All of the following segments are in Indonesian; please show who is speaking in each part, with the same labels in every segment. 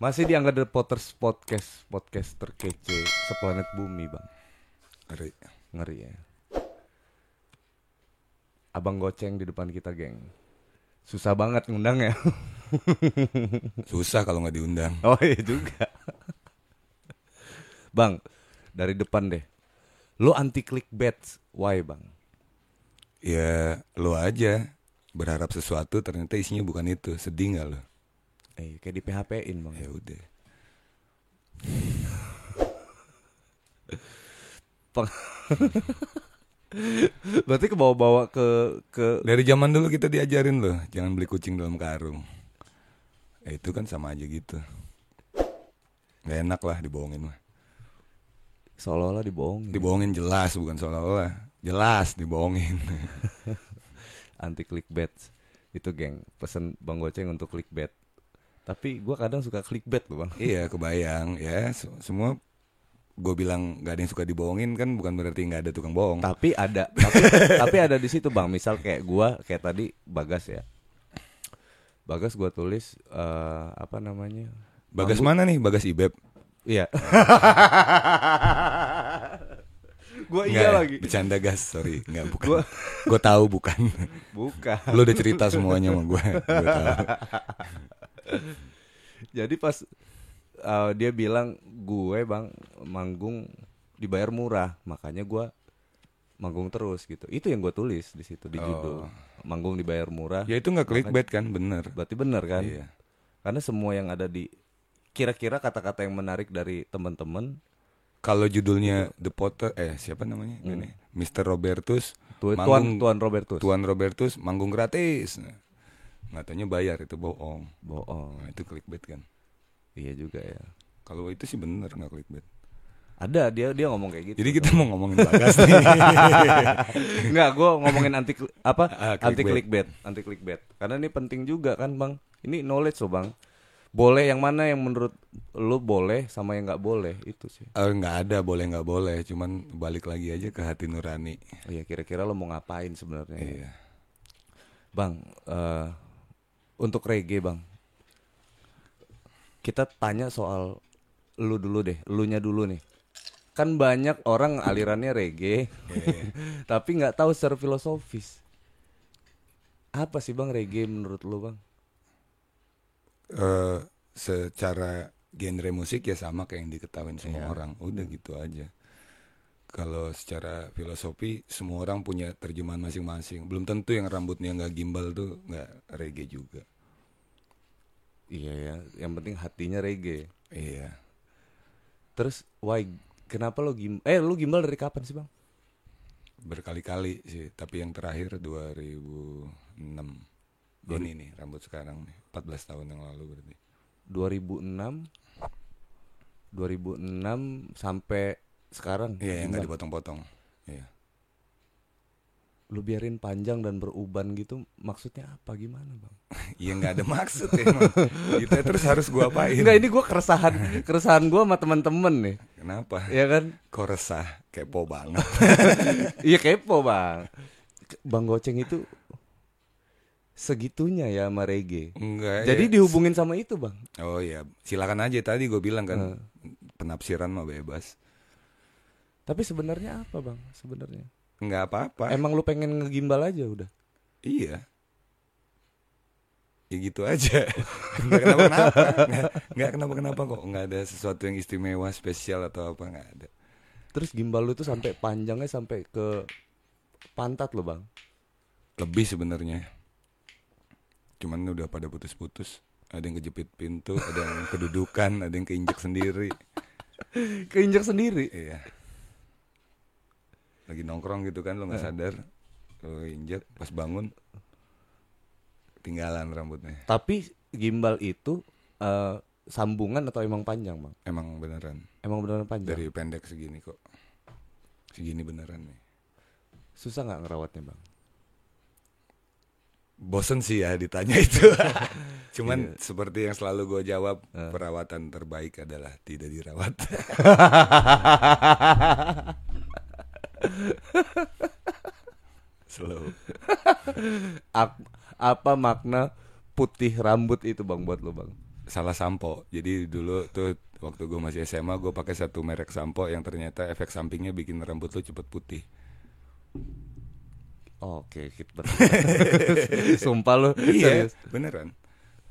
Speaker 1: Masih di Angga The Potters Podcast Podcast terkece seplanet bumi bang
Speaker 2: Ngeri.
Speaker 1: Ngeri ya Abang goceng di depan kita geng Susah banget ngundang ya
Speaker 2: Susah kalau nggak diundang.
Speaker 1: Oh iya juga Bang dari depan deh Lo anti clickbait Why bang?
Speaker 2: Ya lo aja berharap sesuatu ternyata isinya bukan itu. Sedih nggak lo?
Speaker 1: Eh kayak di PHP-in bang
Speaker 2: Ya udah.
Speaker 1: Peng- Berarti ke bawa-bawa ke ke
Speaker 2: Dari zaman dulu kita diajarin loh, jangan beli kucing dalam karung. Ya, itu kan sama aja gitu. Gak enak lah dibohongin mah.
Speaker 1: seolah-olah dibohongin.
Speaker 2: Dibohongin jelas bukan seolah-olah. Jelas dibohongin.
Speaker 1: anti clickbait itu geng pesen bang goceng untuk clickbait tapi gua kadang suka clickbait loh bang
Speaker 2: iya kebayang ya se- semua gue bilang gak ada yang suka dibohongin kan bukan berarti nggak ada tukang bohong.
Speaker 1: tapi ada tapi, tapi ada di situ bang misal kayak gua kayak tadi bagas ya bagas gua tulis eh, apa namanya
Speaker 2: Bagas mana nih? Bagas Ibeb.
Speaker 1: iya gua
Speaker 2: Nggak,
Speaker 1: iya lagi
Speaker 2: ya, Bercanda gas, sorry. Enggak bukan.
Speaker 1: Gua-
Speaker 2: Gue tahu bukan.
Speaker 1: bukan
Speaker 2: Lu udah cerita semuanya sama gue.
Speaker 1: Jadi pas uh, dia bilang gue bang manggung dibayar murah, makanya gue manggung terus gitu. Itu yang gue tulis di situ di judul
Speaker 2: Oh.
Speaker 1: manggung dibayar murah.
Speaker 2: Ya itu nggak clickbait kan, bener.
Speaker 1: Berarti bener kan?
Speaker 2: Iya.
Speaker 1: Karena semua yang ada di kira-kira kata-kata yang menarik dari temen-temen
Speaker 2: Kalau judulnya The Potter, eh siapa namanya? Ini Mr. Robertus.
Speaker 1: tu- Hmm. tuan
Speaker 2: manggung-
Speaker 1: tuan Robertus
Speaker 2: Tuan Robertus manggung gratis. Nggak taunya bayar itu bohong.
Speaker 1: bohong.
Speaker 2: Nah, itu clickbait kan.
Speaker 1: Iya juga ya.
Speaker 2: Kalau itu sih bener nggak clickbait.
Speaker 1: Ada dia dia ngomong kayak gitu.
Speaker 2: Jadi kita mau ngomongin Bagas nih.
Speaker 1: Enggak, gue ngomongin anti kli- apa
Speaker 2: Ah, clickbait.
Speaker 1: anti clickbait, anti clickbait. Karena ini penting juga kan, Bang. Ini knowledge loh, Bang. Boleh yang mana yang menurut lu boleh sama yang nggak boleh itu sih.
Speaker 2: Eh, Nggak ada boleh nggak boleh, cuman balik lagi aja ke hati nurani.
Speaker 1: Oh Iya, kira-kira lo mau ngapain sebenarnya? ya?
Speaker 2: Iya.
Speaker 1: Bang, eh, untuk reggae, Bang. Kita tanya soal lu dulu deh, elunya dulu nih. Kan banyak orang alirannya reggae, Iya. tapi nggak tahu secara filosofis. Apa sih bang reggae menurut lu bang?
Speaker 2: eh secara genre musik ya sama kayak yang diketahui semua orang udah gitu aja kalau secara filosofi semua orang punya terjemahan masing-masing belum tentu yang rambutnya nggak gimbal tuh nggak reggae juga
Speaker 1: Iya ya, yang penting hatinya reggae.
Speaker 2: iya
Speaker 1: Terus why kenapa lo gim eh lu gimbal dari kapan sih, Bang?
Speaker 2: berkali-kali sih tapi yang terakhir 2006 ini nih rambut sekarang nih 14 tahun yang lalu berarti
Speaker 1: 2006 2006 sampai sekarang.
Speaker 2: iya yang
Speaker 1: Gimbal.
Speaker 2: nggak dipotong-potong iya
Speaker 1: Lu biarin panjang dan beruban gitu maksudnya apa gimana, Bang?
Speaker 2: iya nggak ada maksud ya emang gitu ya, terus harus gua apain
Speaker 1: Enggak, ini gua keresahan keresahan gua sama teman-teman nih.
Speaker 2: kenapa
Speaker 1: Ya kan?
Speaker 2: kok resah kepo banget
Speaker 1: Iya kepo, Bang. Bang Goceng itu segitunya ya sama reggae.
Speaker 2: Enggak.
Speaker 1: Jadi
Speaker 2: ya.
Speaker 1: dihubungin sama itu, Bang.
Speaker 2: Oh ya, silakan aja tadi gue bilang kan penafsiran mah bebas.
Speaker 1: Tapi sebenarnya apa, Bang? Sebenarnya
Speaker 2: Enggak apa-apa.
Speaker 1: Emang lu pengen ngegimbal aja udah.
Speaker 2: iya. Ya gitu aja. Enggak kenapa-kenapa. Enggak kenapa-kenapa kok. Enggak ada sesuatu yang istimewa, spesial atau apa enggak ada.
Speaker 1: Terus gimbal lu tuh sampai panjangnya sampai ke pantat lo, Bang.
Speaker 2: Lebih sebenarnya. Cuman udah pada putus-putus. Ada yang kejepit pintu, ada yang kedudukan, ada yang keinjek sendiri.
Speaker 1: Keinjak sendiri.
Speaker 2: Iya. Lagi nongkrong gitu kan lo nggak sadar. Lo injek pas bangun ketinggalan rambutnya.
Speaker 1: Tapi gimbal itu eh, sambungan atau emang panjang, Bang?
Speaker 2: Emang beneran
Speaker 1: Emang beneran panjang.
Speaker 2: dari pendek segini kok. Segini beneran nih.
Speaker 1: Susah nggak ngerawatnya, Bang?
Speaker 2: Bosen sih ya ditanya itu. Cuman seperti yang selalu gue jawab, perawatan terbaik adalah tidak dirawat. Slow.
Speaker 1: Ap- apa makna putih rambut itu, Bang, buat lo, Bang?
Speaker 2: salah sampo. Jadi dulu tuh waktu gue masih SMA gue pakai satu merek sampo yang ternyata efek sampingnya bikin rambut lu cepet putih.
Speaker 1: Oke, gitu. Iya. kita Sumpah lu
Speaker 2: Gitu,
Speaker 1: serius.
Speaker 2: beneran,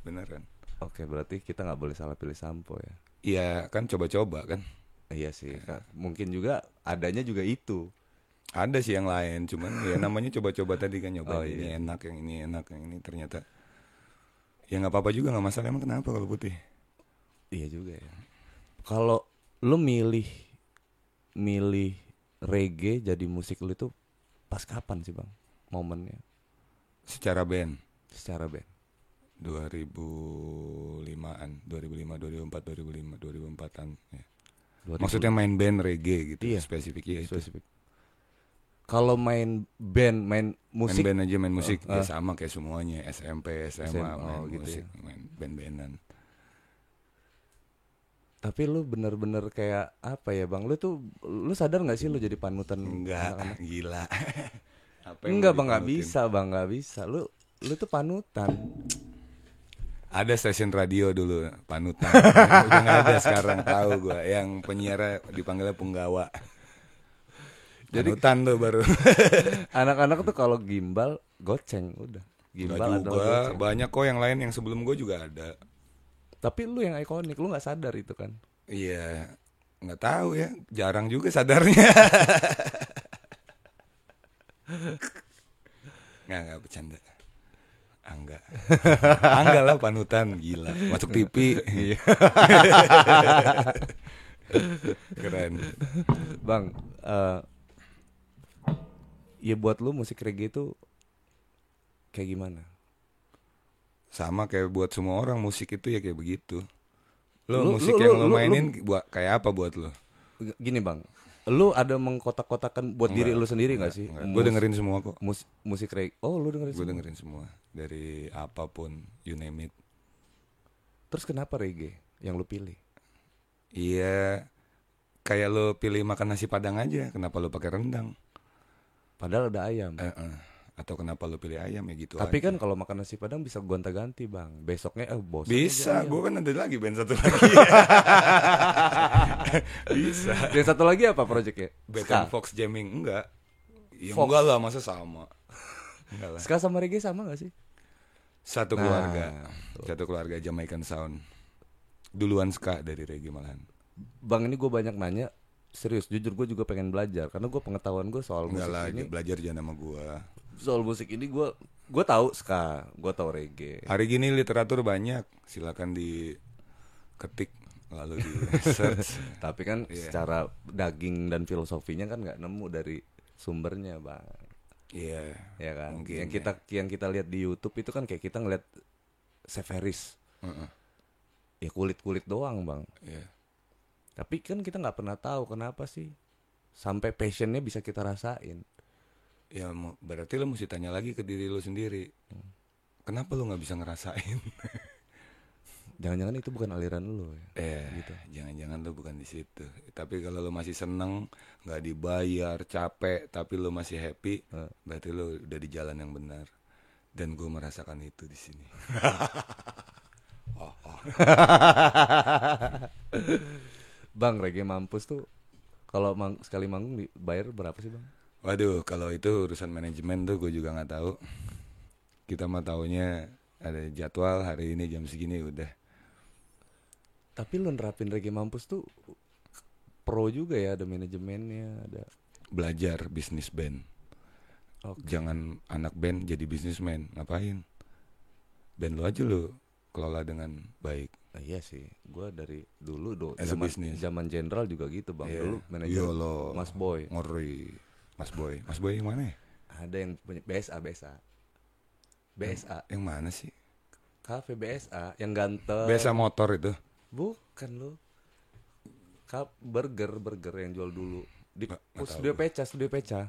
Speaker 2: beneran.
Speaker 1: Oke, berarti kita nggak boleh salah pilih sampo ya.
Speaker 2: Iya kan coba-coba kan.
Speaker 1: Iya sih. Kak. Mungkin juga adanya juga itu.
Speaker 2: Ada sih yang lain, cuman ya namanya coba-coba tadi kan
Speaker 1: Oh,
Speaker 2: nyoba yang ini enak, yang ini enak, yang ini ternyata ya nggak apa-apa juga nggak masalah emang kenapa kalau putih?
Speaker 1: Iya juga ya. Kalau lu milih milih reggae jadi musik lu itu pas kapan sih, Bang? Momennya
Speaker 2: Secara band
Speaker 1: secara band.
Speaker 2: 2005-an, 2005, 2004, 2005, 2004-an. Ya.
Speaker 1: 2000
Speaker 2: Maksudnya main band reggae gitu,
Speaker 1: Iya.
Speaker 2: spesifiknya itu.
Speaker 1: spesifik. Kalau main band, main musik
Speaker 2: Main band aja main musik
Speaker 1: Oh,
Speaker 2: ya sama kayak semuanya SMP, SMA,
Speaker 1: SMA,
Speaker 2: main
Speaker 1: oh, gitu
Speaker 2: musik, main band-bandan.
Speaker 1: tapi lu bener-bener kayak apa ya, Bang? Lu tuh lu sadar nggak sih lu jadi panutan
Speaker 2: Enggak,
Speaker 1: anak-anak?
Speaker 2: gila. Apa yang
Speaker 1: Enggak
Speaker 2: mau
Speaker 1: bang, nggak
Speaker 2: dipanutin?
Speaker 1: bisa bang, nggak bisa. Lu lu tuh panutan.
Speaker 2: Ada stasiun radio dulu panutan. Udah nggak ada sekarang tahu gua yang penyiar dipanggilnya penggawa. Jadi panutan tuh baru.
Speaker 1: Anak-anak tuh kalau gimbal goceng udah.
Speaker 2: Gak
Speaker 1: Gimbal atau
Speaker 2: juga,
Speaker 1: goceng.
Speaker 2: banyak kok yang lain yang sebelum gue juga ada.
Speaker 1: Tapi lu yang ikonik, lu nggak sadar itu kan.
Speaker 2: Iya, nggak tahu ya, jarang juga sadarnya. nggak nggak bercanda. Angga, Angga lah panutan gila, masuk TV.
Speaker 1: Iya.
Speaker 2: Keren.
Speaker 1: Bang, eh ya buat lu musik reggae itu kayak gimana?
Speaker 2: Sama kayak buat semua orang musik itu ya kayak begitu. Lo
Speaker 1: Lu-
Speaker 2: musik
Speaker 1: lu-
Speaker 2: yang
Speaker 1: lu-
Speaker 2: lo
Speaker 1: lu-
Speaker 2: mainin buat kayak apa buat lo?
Speaker 1: G- Gini bang, lu ada mengkotak-kotakan buat diri lu sendiri nggak sih?
Speaker 2: Gue dengerin semua kok.
Speaker 1: Mus- musik reggae. Oh lu dengerin.
Speaker 2: Gue
Speaker 1: semua.
Speaker 2: dengerin semua dari apapun you name it.
Speaker 1: Terus kenapa reggae yang lu pilih?
Speaker 2: Iya, kayak lo pilih makan nasi padang aja, kenapa lo pakai rendang?
Speaker 1: Padahal ada ayam.
Speaker 2: Eh, eh. Atau kenapa lo pilih ayam ya gitu?
Speaker 1: Tapi
Speaker 2: aja.
Speaker 1: kan kalau makan nasi padang bisa gonta-ganti bang. Besoknya eh bosan.
Speaker 2: bisa, gue kan ada lagi band satu lagi.
Speaker 1: Iya,
Speaker 2: bisa.
Speaker 1: Dan satu lagi apa proyeknya?
Speaker 2: Back
Speaker 1: Ska.
Speaker 2: and Fox jamming enggak? Ya
Speaker 1: Fox.
Speaker 2: enggak lah, masa sama? Enggak lah.
Speaker 1: Ska sama reggae sama gak sih? Nah,
Speaker 2: Satu keluarga, satu keluarga Jamaican Sound. Duluan ska dari reggae malahan.
Speaker 1: Bang ini gue banyak nanya. Serius, jujur gue juga pengen belajar karena gue pengetahuan gue soal musik
Speaker 2: Enggak lah,
Speaker 1: ini.
Speaker 2: belajar jangan sama gue.
Speaker 1: Soal musik ini gue gue tahu ska, gue tahu reggae.
Speaker 2: Hari gini literatur banyak, silakan diketik lalu di search.
Speaker 1: Tapi kan
Speaker 2: Iya.
Speaker 1: secara daging dan filosofinya kan nggak nemu dari sumbernya bang.
Speaker 2: Iya.
Speaker 1: Ya kan.
Speaker 2: Mungkin,
Speaker 1: yang kita yang kita lihat di YouTube itu kan kayak kita ngeliat Severis.
Speaker 2: Heeh,
Speaker 1: Ya kulit kulit doang bang.
Speaker 2: iya.
Speaker 1: Tapi kan kita nggak pernah tahu kenapa sih sampai passionnya bisa kita rasain.
Speaker 2: Ya mu- berarti lo mesti tanya lagi ke diri lo sendiri. Kenapa lo nggak bisa ngerasain?
Speaker 1: Jangan-jangan itu bukan aliran lu ya.
Speaker 2: Eh, jangan-jangan lo bukan di situ. Tapi kalau lo masih seneng, nggak dibayar, capek, tapi lo masih happy, berarti lo udah di jalan yang benar. Dan gue merasakan itu di sini.
Speaker 1: Bang reggae mampus tuh kalau mang- sekali manggung dibayar berapa sih bang?
Speaker 2: Waduh, kalau itu urusan manajemen tuh gue juga nggak tahu. Kita mah taunya ada jadwal hari ini jam segini udah.
Speaker 1: Tapi lu nerapin reggae mampus tuh pro juga ya ada manajemennya ada.
Speaker 2: Belajar bisnis band.
Speaker 1: Oke.
Speaker 2: Jangan anak band jadi bisnismen. Ngapain? Band lo aja lo kelola dengan baik.
Speaker 1: Ah, iya sih, gua dari dulu do
Speaker 2: As a
Speaker 1: zaman
Speaker 2: business.
Speaker 1: zaman jenderal juga gitu bang. Dulu manajer
Speaker 2: Iya lo.
Speaker 1: Mas Boy
Speaker 2: Ngeri. Mas Boy. Mas Boy yang mana ya?
Speaker 1: ada yang punya BSA BSA BSA
Speaker 2: Yang mana sih?
Speaker 1: kafe BSA yang ganteng.
Speaker 2: Biasa motor itu.
Speaker 1: Bukan lo. Cup burger burger yang jual dulu di
Speaker 2: Nggak-
Speaker 1: oh, studio Peca, studio Peca.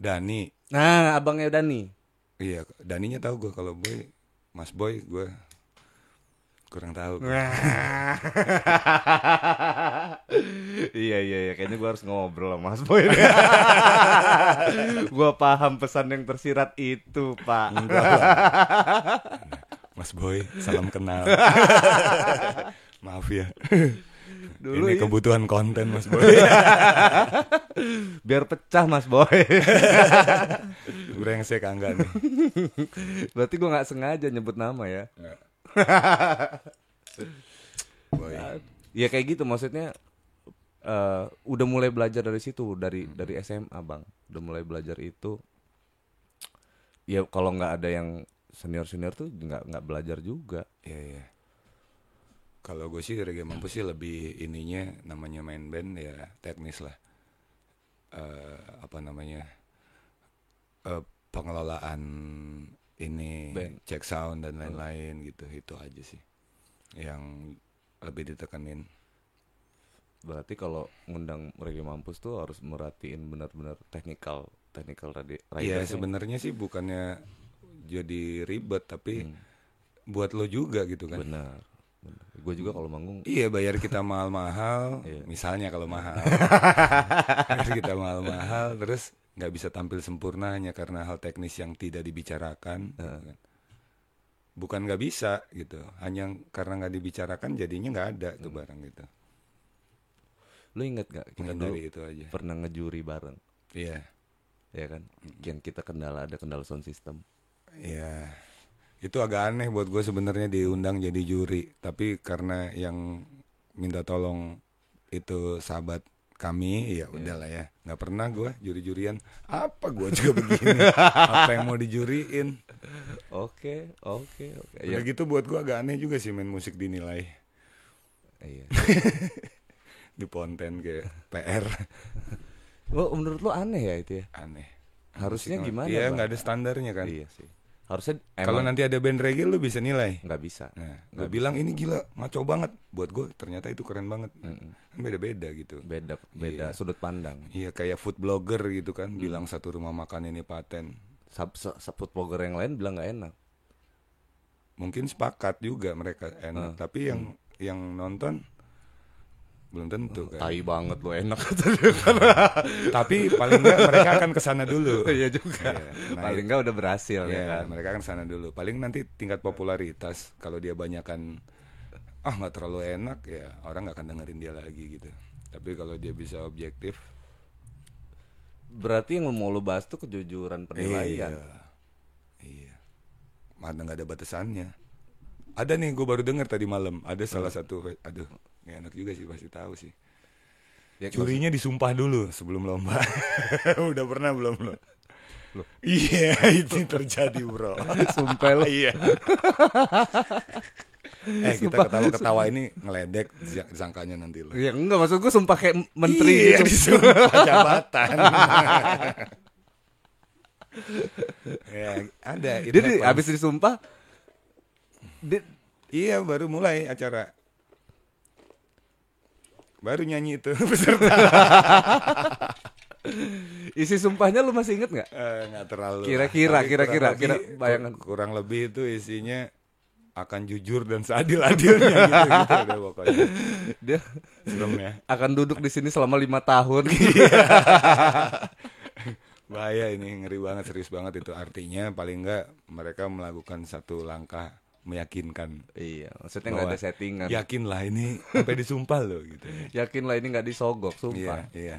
Speaker 2: Dani.
Speaker 1: Nah, abangnya Dani.
Speaker 2: Iya, Daninya tahu gue kalau Boy, Mas Boy gue kurang tahu.
Speaker 1: iya iya iya, kayaknya gua harus ngobrol sama Mas Boy. gua paham pesan yang tersirat itu, Pak.
Speaker 2: Enggak lah. Mas Boy, salam kenal. Maaf ya.
Speaker 1: Dulu
Speaker 2: Ini
Speaker 1: iya.
Speaker 2: kebutuhan konten Mas Boy.
Speaker 1: Biar pecah Mas Boy.
Speaker 2: Brengsek angga nih.
Speaker 1: Berarti gua nggak sengaja nyebut nama ya.
Speaker 2: Boy.
Speaker 1: Ya kayak gitu maksudnya eh udah mulai belajar dari situ dari dari SMA, Bang. Udah mulai belajar itu ya kalau nggak ada yang senior-senior tuh nggak nggak belajar juga.
Speaker 2: Iya iya. Kalau gue sih reggae mampus sih lebih ininya namanya main band ya teknis lah. Eh, apa namanya Eh, pengelolaan ini
Speaker 1: Band.
Speaker 2: cek sound dan lain-lain gitu itu aja sih yang lebih ditekanin.
Speaker 1: Berarti kalau ngundang Reggae Mampus tuh harus merhatiin benar-benar technical technical tadi
Speaker 2: Iya sebenarnya sih bukannya jadi ribet tapi buat lo juga gitu kan.
Speaker 1: benar. Gue juga kalau manggung
Speaker 2: Iya bayar kita mahal-mahal, misalnya kalau mahal, bayar kita mahal-mahal, terus nggak bisa tampil sempurna hanya karena hal teknis yang tidak dibicarakan, gitu kan. bukan nggak bisa gitu, hanya karena nggak dibicarakan jadinya nggak ada tuh barang gitu.
Speaker 1: lu inget gak kita dulu
Speaker 2: Menghindari itu aja.
Speaker 1: pernah ngejuri bareng
Speaker 2: Iya,
Speaker 1: ya kan yang kita kendala ada kendala sound system
Speaker 2: iya. Itu agak aneh buat gue sebenarnya diundang jadi juri, tapi karena yang minta tolong itu sahabat kami
Speaker 1: Iya.
Speaker 2: ya udahlah ya nggak pernah gue juri-jurian apa gue juga begini apa yang mau dijuriin
Speaker 1: oke oke oke
Speaker 2: udah
Speaker 1: ya,
Speaker 2: gitu buat gue agak aneh juga sih main musik dinilai
Speaker 1: iya
Speaker 2: di konten kayak PR
Speaker 1: Lu- menurut lu aneh ya itu ya
Speaker 2: aneh
Speaker 1: Harusnya
Speaker 2: Musik-
Speaker 1: gimana,
Speaker 2: iya
Speaker 1: Bang?
Speaker 2: nggak ada standarnya kan
Speaker 1: iya sih harusnya
Speaker 2: kalau
Speaker 1: emang
Speaker 2: nanti ada band reggae lu bisa nilai
Speaker 1: nggak bisa
Speaker 2: nah lu bilang ini gila ngaco banget buat gue ternyata itu keren banget Kan beda-beda gitu
Speaker 1: beda beda sudut pandang
Speaker 2: Iya kayak food blogger gitu kan bilang satu rumah makan ini paten.
Speaker 1: sub, sub, sub- blogger yang lain bilang nggak enak
Speaker 2: Mungkin sepakat juga mereka enak, tapi yang yang nonton belum tentu kan.
Speaker 1: tai banget lu enak
Speaker 2: tapi paling enggak mereka akan kesana dulu.
Speaker 1: iya juga
Speaker 2: nah,
Speaker 1: paling nggak udah berhasil
Speaker 2: Iya,
Speaker 1: ya kan
Speaker 2: mereka akan kesana dulu. Paling nanti tingkat popularitas kalau dia banyakan ah nggak terlalu enak ya orang nggak akan dengerin dia lagi gitu. Tapi kalau dia bisa objektif,
Speaker 1: berarti yang mau lu bahas tuh kejujuran penilaian
Speaker 2: Iya. Mana nggak ada batasannya. Ada nih, gue baru dengar tadi malam. Ada salah satu, aduh, nggak enak juga sih pasti tahu sih.
Speaker 1: ya kalau-
Speaker 2: Curinya disumpah dulu sebelum lomba. Udah pernah belum lo?
Speaker 1: Loh.
Speaker 2: Iya, itu terjadi bro.
Speaker 1: sumpah lu
Speaker 2: Iya. eh kita ketawa-ketawa ini ngeledek sangkanya nanti lo.
Speaker 1: Ya enggak maksud gue sumpah kayak menteri
Speaker 2: iya,
Speaker 1: gitu.
Speaker 2: disumpah jabatan. ya, ada. itu
Speaker 1: Dia di,
Speaker 2: reklame.
Speaker 1: abis disumpah dia,
Speaker 2: Iya baru mulai acara Baru nyanyi itu peserta
Speaker 1: isi sumpahnya lu masih inget nggak?
Speaker 2: Eh, nggak terlalu
Speaker 1: Kira-kira,
Speaker 2: Tapi
Speaker 1: kira-kira,
Speaker 2: kurang lebih-
Speaker 1: kira- bayangan.
Speaker 2: Kurang lebih itu isinya Akan jujur dan seadil-adilnya gitu-gitu udah pokoknya
Speaker 1: Dia
Speaker 2: Serem ya
Speaker 1: akan duduk di sini selama lima tahun.
Speaker 2: Iya. Bahaya ini ngeri banget serius banget itu Artinya paling nggak mereka melakukan satu langkah meyakinkan
Speaker 1: iya, maksudnya nggak ada
Speaker 2: bahwa ya-
Speaker 1: settingan. Iya,
Speaker 2: Yakinlah ini sampai disumpah loh gitu
Speaker 1: Yakinlah ini nggak disogok, sumpah.
Speaker 2: Iya, iya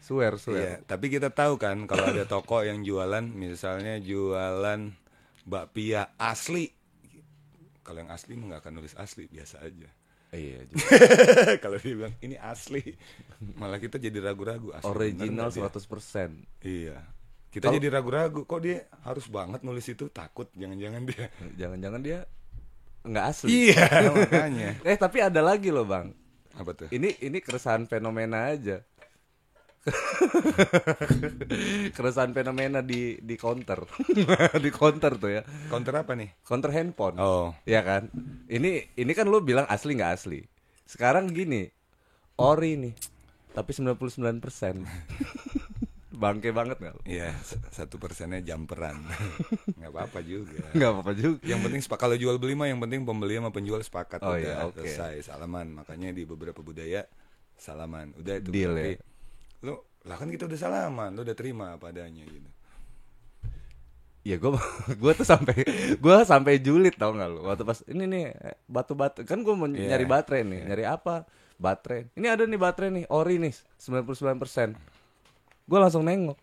Speaker 1: Swear, swear.
Speaker 2: Iya, tapi kita tahu kan kalau ada toko yang jualan misalnya jualan bakpia asli. Kalau yang asli mah nggak akan nulis asli, biasa aja.
Speaker 1: Iya, juga.
Speaker 2: kalau dia bilang ini asli, malah kita jadi ragu-ragu asli.
Speaker 1: original
Speaker 2: bener nggak dia?
Speaker 1: 100% persen.
Speaker 2: Iya. Kita jadi ragu-ragu kok dia harus banget nulis itu takut jangan-jangan dia.
Speaker 1: Jangan-jangan dia nggak asli.
Speaker 2: Iya, makanya.
Speaker 1: Eh tapi ada lagi loh bang.
Speaker 2: Apa tuh?
Speaker 1: Ini ini keresahan fenomena aja. keresahan fenomena di di counter, di counter tuh ya,
Speaker 2: Counter apa nih?
Speaker 1: counter handphone.
Speaker 2: Oh,
Speaker 1: Ya kan? Ini ini kan lu bilang asli nggak asli. Sekarang gini, ori nih. Tapi 99%. Bangke banget nggak lu?
Speaker 2: iya, s- satu persennya jumperan. Nggak apa-apa juga.
Speaker 1: Nggak apa-apa juga.
Speaker 2: Yang penting sepakat kalau jual beli mah yang penting pembeli sama penjual sepakat
Speaker 1: Oh,
Speaker 2: udah
Speaker 1: iya, oke.
Speaker 2: selesai salaman. Makanya di beberapa budaya salaman. Udah itu
Speaker 1: Deal,
Speaker 2: Tapi,
Speaker 1: ya.
Speaker 2: Lu lah kan kita udah salaman, lu udah terima padanya gitu.
Speaker 1: ya gue gue tuh sampai gue sampai julid tau nggak lu waktu pas ini nih batu batu kan gue mau
Speaker 2: Iya.
Speaker 1: nyari baterai nih nyari apa baterai ini ada nih baterai nih ori nih 99% gue langsung nengok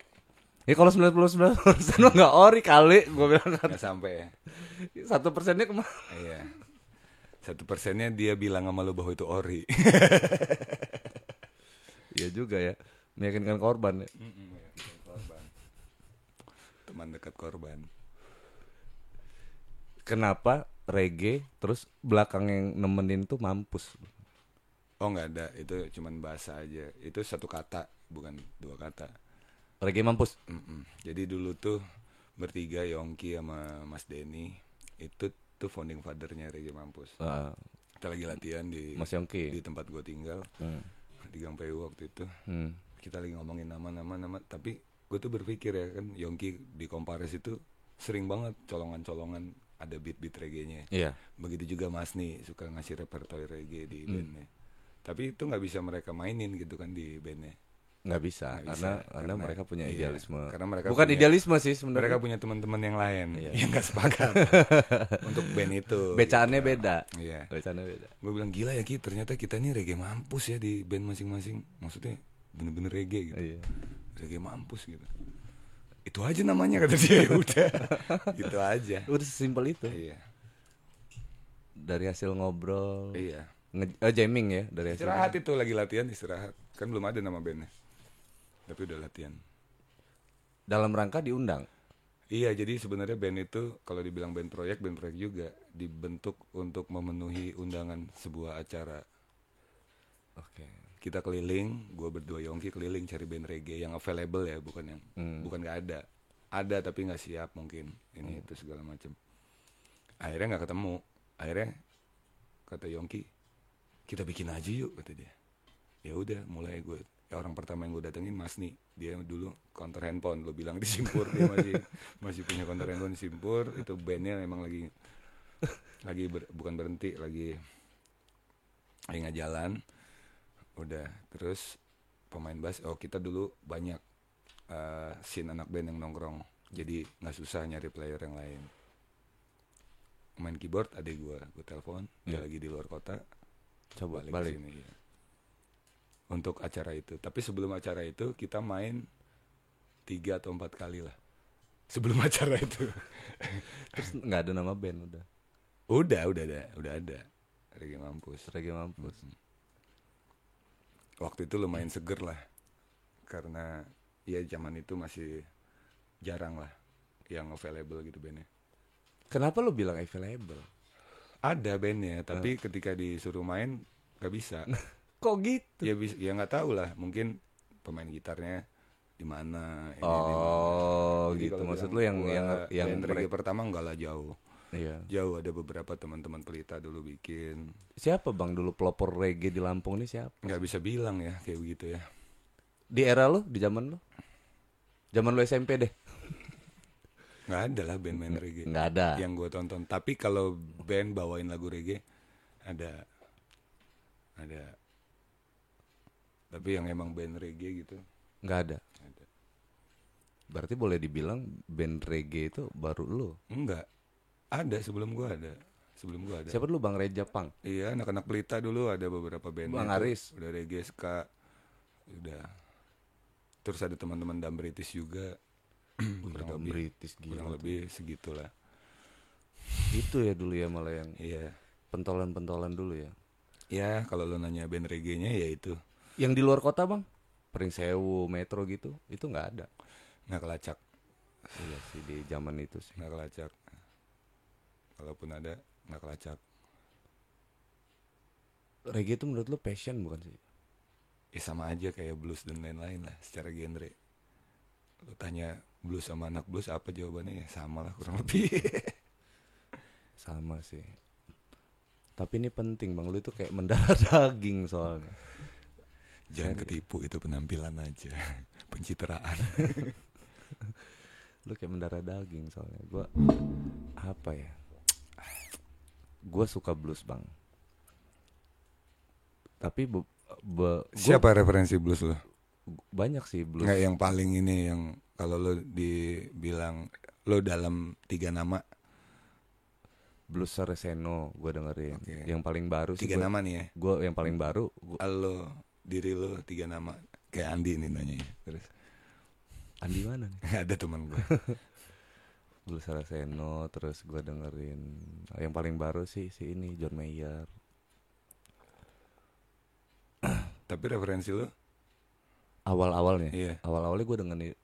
Speaker 1: ya kalau 99% mah nggak ori kali gue bilang kan
Speaker 2: nggak sampai ya
Speaker 1: satu persennya kemana
Speaker 2: iya satu persennya dia bilang sama lu bahwa itu ori
Speaker 1: Iya juga ya meyakinkan korban ya.
Speaker 2: teman dekat korban
Speaker 1: kenapa reggae terus belakang yang nemenin tuh mampus
Speaker 2: oh nggak ada itu cuman bahasa aja itu satu kata bukan dua kata
Speaker 1: reggae mampus
Speaker 2: Mm-mm. jadi dulu tuh bertiga Yongki sama Mas Denny itu tuh founding fathernya Reggae Mampus
Speaker 1: Ah,
Speaker 2: kita lagi latihan di
Speaker 1: Mas Yongki
Speaker 2: di tempat gue tinggal
Speaker 1: Hmm.
Speaker 2: di Gang PU waktu itu
Speaker 1: Hmm.
Speaker 2: kita lagi ngomongin nama-nama nama tapi gue tuh berpikir ya kan Yongki di Kompares itu sering banget colongan-colongan ada beat-beat reggae-nya
Speaker 1: iya
Speaker 2: begitu juga Mas nih suka ngasih repertoire reggae
Speaker 1: Hmm.
Speaker 2: di bandnya tapi itu nggak bisa mereka mainin gitu kan di bandnya
Speaker 1: nggak bisa,
Speaker 2: Nggak
Speaker 1: karena,
Speaker 2: bisa,
Speaker 1: karena
Speaker 2: karena-
Speaker 1: mereka punya
Speaker 2: iya,
Speaker 1: idealisme
Speaker 2: karena mereka
Speaker 1: bukan
Speaker 2: punya-
Speaker 1: idealisme sih sebenarnya
Speaker 2: mereka punya teman-teman yang lain
Speaker 1: Iya.
Speaker 2: yang gak sepakat untuk band itu
Speaker 1: becaannya beda
Speaker 2: iya
Speaker 1: becaannya beda
Speaker 2: gue bilang gila ya Ki ternyata kita ini reggae mampus ya di band masing-masing maksudnya bener-bener reggae gitu
Speaker 1: iya
Speaker 2: reggae mampus gitu itu aja namanya kata dia "Ya udah gitu aja
Speaker 1: udah sesimpel itu
Speaker 2: iya
Speaker 1: dari hasil ngobrol
Speaker 2: iya
Speaker 1: nge- eh, jamming ya dari hasil
Speaker 2: istirahat itu lagi latihan istirahat kan belum ada nama bandnya tapi udah latihan
Speaker 1: dalam rangka diundang
Speaker 2: Iya, jadi sebenarnya band itu kalau dibilang band proyek, band proyek juga dibentuk untuk memenuhi undangan sebuah acara.
Speaker 1: oke
Speaker 2: Kita keliling, gue berdua Yongki keliling cari band reggae yang available ya, bukan yang bukan nggak ada, ada tapi nggak siap mungkin ini itu segala macam. Akhirnya nggak ketemu, akhirnya kata Yongki, kita bikin aja yuk kata dia. Ya udah, mulai gue. Ya, orang pertama yang gue datengin Mas nih, dia dulu counter handphone, lo bilang di Simpur dia masih masih punya counter handphone di Simpur, itu bandnya memang lagi lagi ber- bukan berhenti, lagi lagi nggak jalan. Udah, terus pemain bass, oh kita dulu banyak eh, scene anak band yang nongkrong, jadi nggak susah nyari player yang lain. Main keyboard ada gue, gue telepon, dia
Speaker 1: Iya.
Speaker 2: lagi di luar kota,
Speaker 1: coba
Speaker 2: balik,
Speaker 1: balik,
Speaker 2: ke sini, iya. untuk acara itu tapi sebelum acara itu kita main tiga atau empat kali lah sebelum acara itu
Speaker 1: terus nggak ada nama band udah
Speaker 2: udah udah ada udah ada Reggae mampus
Speaker 1: reggae mampus
Speaker 2: waktu itu lumayan seger lah karena ya zaman itu masih jarang lah yang available gitu bandnya
Speaker 1: kenapa lu bilang available
Speaker 2: ada bandnya tapi ketika disuruh main gak bisa
Speaker 1: Nah, kok gitu
Speaker 2: ya bis- ya nggak tahu lah mungkin pemain gitarnya di mana ini di
Speaker 1: oh
Speaker 2: Jadi
Speaker 1: gitu
Speaker 2: kalau
Speaker 1: maksud
Speaker 2: bilang
Speaker 1: lu yang
Speaker 2: gua
Speaker 1: yang yang
Speaker 2: band reggae
Speaker 1: mereka,
Speaker 2: pertama enggak lah jauh.
Speaker 1: iya
Speaker 2: Jauh ada beberapa teman-teman pelita dulu bikin.
Speaker 1: siapa bang dulu pelopor reggae di Lampung nih siapa
Speaker 2: nggak bisa bilang ya kayak begitu ya.
Speaker 1: di era lu di zaman lu zaman lu SMP deh
Speaker 2: nggak ada lah band main reggae
Speaker 1: nggak ada
Speaker 2: yang gue tonton. Tapi kalau band bawain lagu reggae ada ada tapi yang emang band reggae gitu
Speaker 1: nggak ada
Speaker 2: ada.
Speaker 1: berarti boleh dibilang band reggae itu baru lu
Speaker 2: Enggak. Ada sebelum gua ada. Sebelum gua ada.
Speaker 1: siapa dulu bang Reja Pang
Speaker 2: Iya, anak-anak pelita dulu ada beberapa band.
Speaker 1: Bang
Speaker 2: itu.
Speaker 1: Aris.
Speaker 2: Udah reggae, ska, udah. Terus ada teman-teman dam British juga. kurang
Speaker 1: Kurang
Speaker 2: lebih,
Speaker 1: British
Speaker 2: kurang
Speaker 1: gila
Speaker 2: lebih segitulah.
Speaker 1: itu ya dulu ya malah yang
Speaker 2: Iya.
Speaker 1: pentolan-pentolan dulu ya
Speaker 2: Ya, kalau lo nanya band reggae-nya ya itu.
Speaker 1: yang di luar kota bang Pringsewu Metro gitu itu nggak ada
Speaker 2: Nggak Nah, kelacak,
Speaker 1: iya sih di zaman itu sih
Speaker 2: nggak kelacak. Kalaupun ada, nggak kelacak.
Speaker 1: reggae itu menurut lu passion bukan sih
Speaker 2: Ya sama aja kayak blues dan lain-lain lah secara genre. Lo tanya blues sama anak blues apa jawabannya ya sama lah kurang lebih.
Speaker 1: Sama sih. Tapi ini penting bang, lu itu kayak mendarah daging soalnya.
Speaker 2: Jangan ketipu itu penampilan aja, pencitraan.
Speaker 1: Lu kayak mendarah daging soalnya. Gua apa ya? Gua suka blues bang. Tapi be, be- gua-
Speaker 2: Siapa referensi blues lo?
Speaker 1: banyak sih blues.
Speaker 2: Nggak yang paling ini yang kalau lo dibilang lo dalam tiga nama
Speaker 1: Blues Sareseno gue dengerin.
Speaker 2: Oke.
Speaker 1: Yang paling baru sih.
Speaker 2: tiga
Speaker 1: gua-
Speaker 2: nama nih ya
Speaker 1: Gua yang paling baru gua,
Speaker 2: lo diri lo tiga nama kayak Andi nih nanya ya, terus
Speaker 1: Andi mana nih?
Speaker 2: ada teman gue
Speaker 1: Blues Sareseno terus gue dengerin yang paling baru sih si ini John Mayer.
Speaker 2: tapi referensi lo
Speaker 1: Awal-awalnya.
Speaker 2: iya
Speaker 1: Awal-awalnya gue dengerin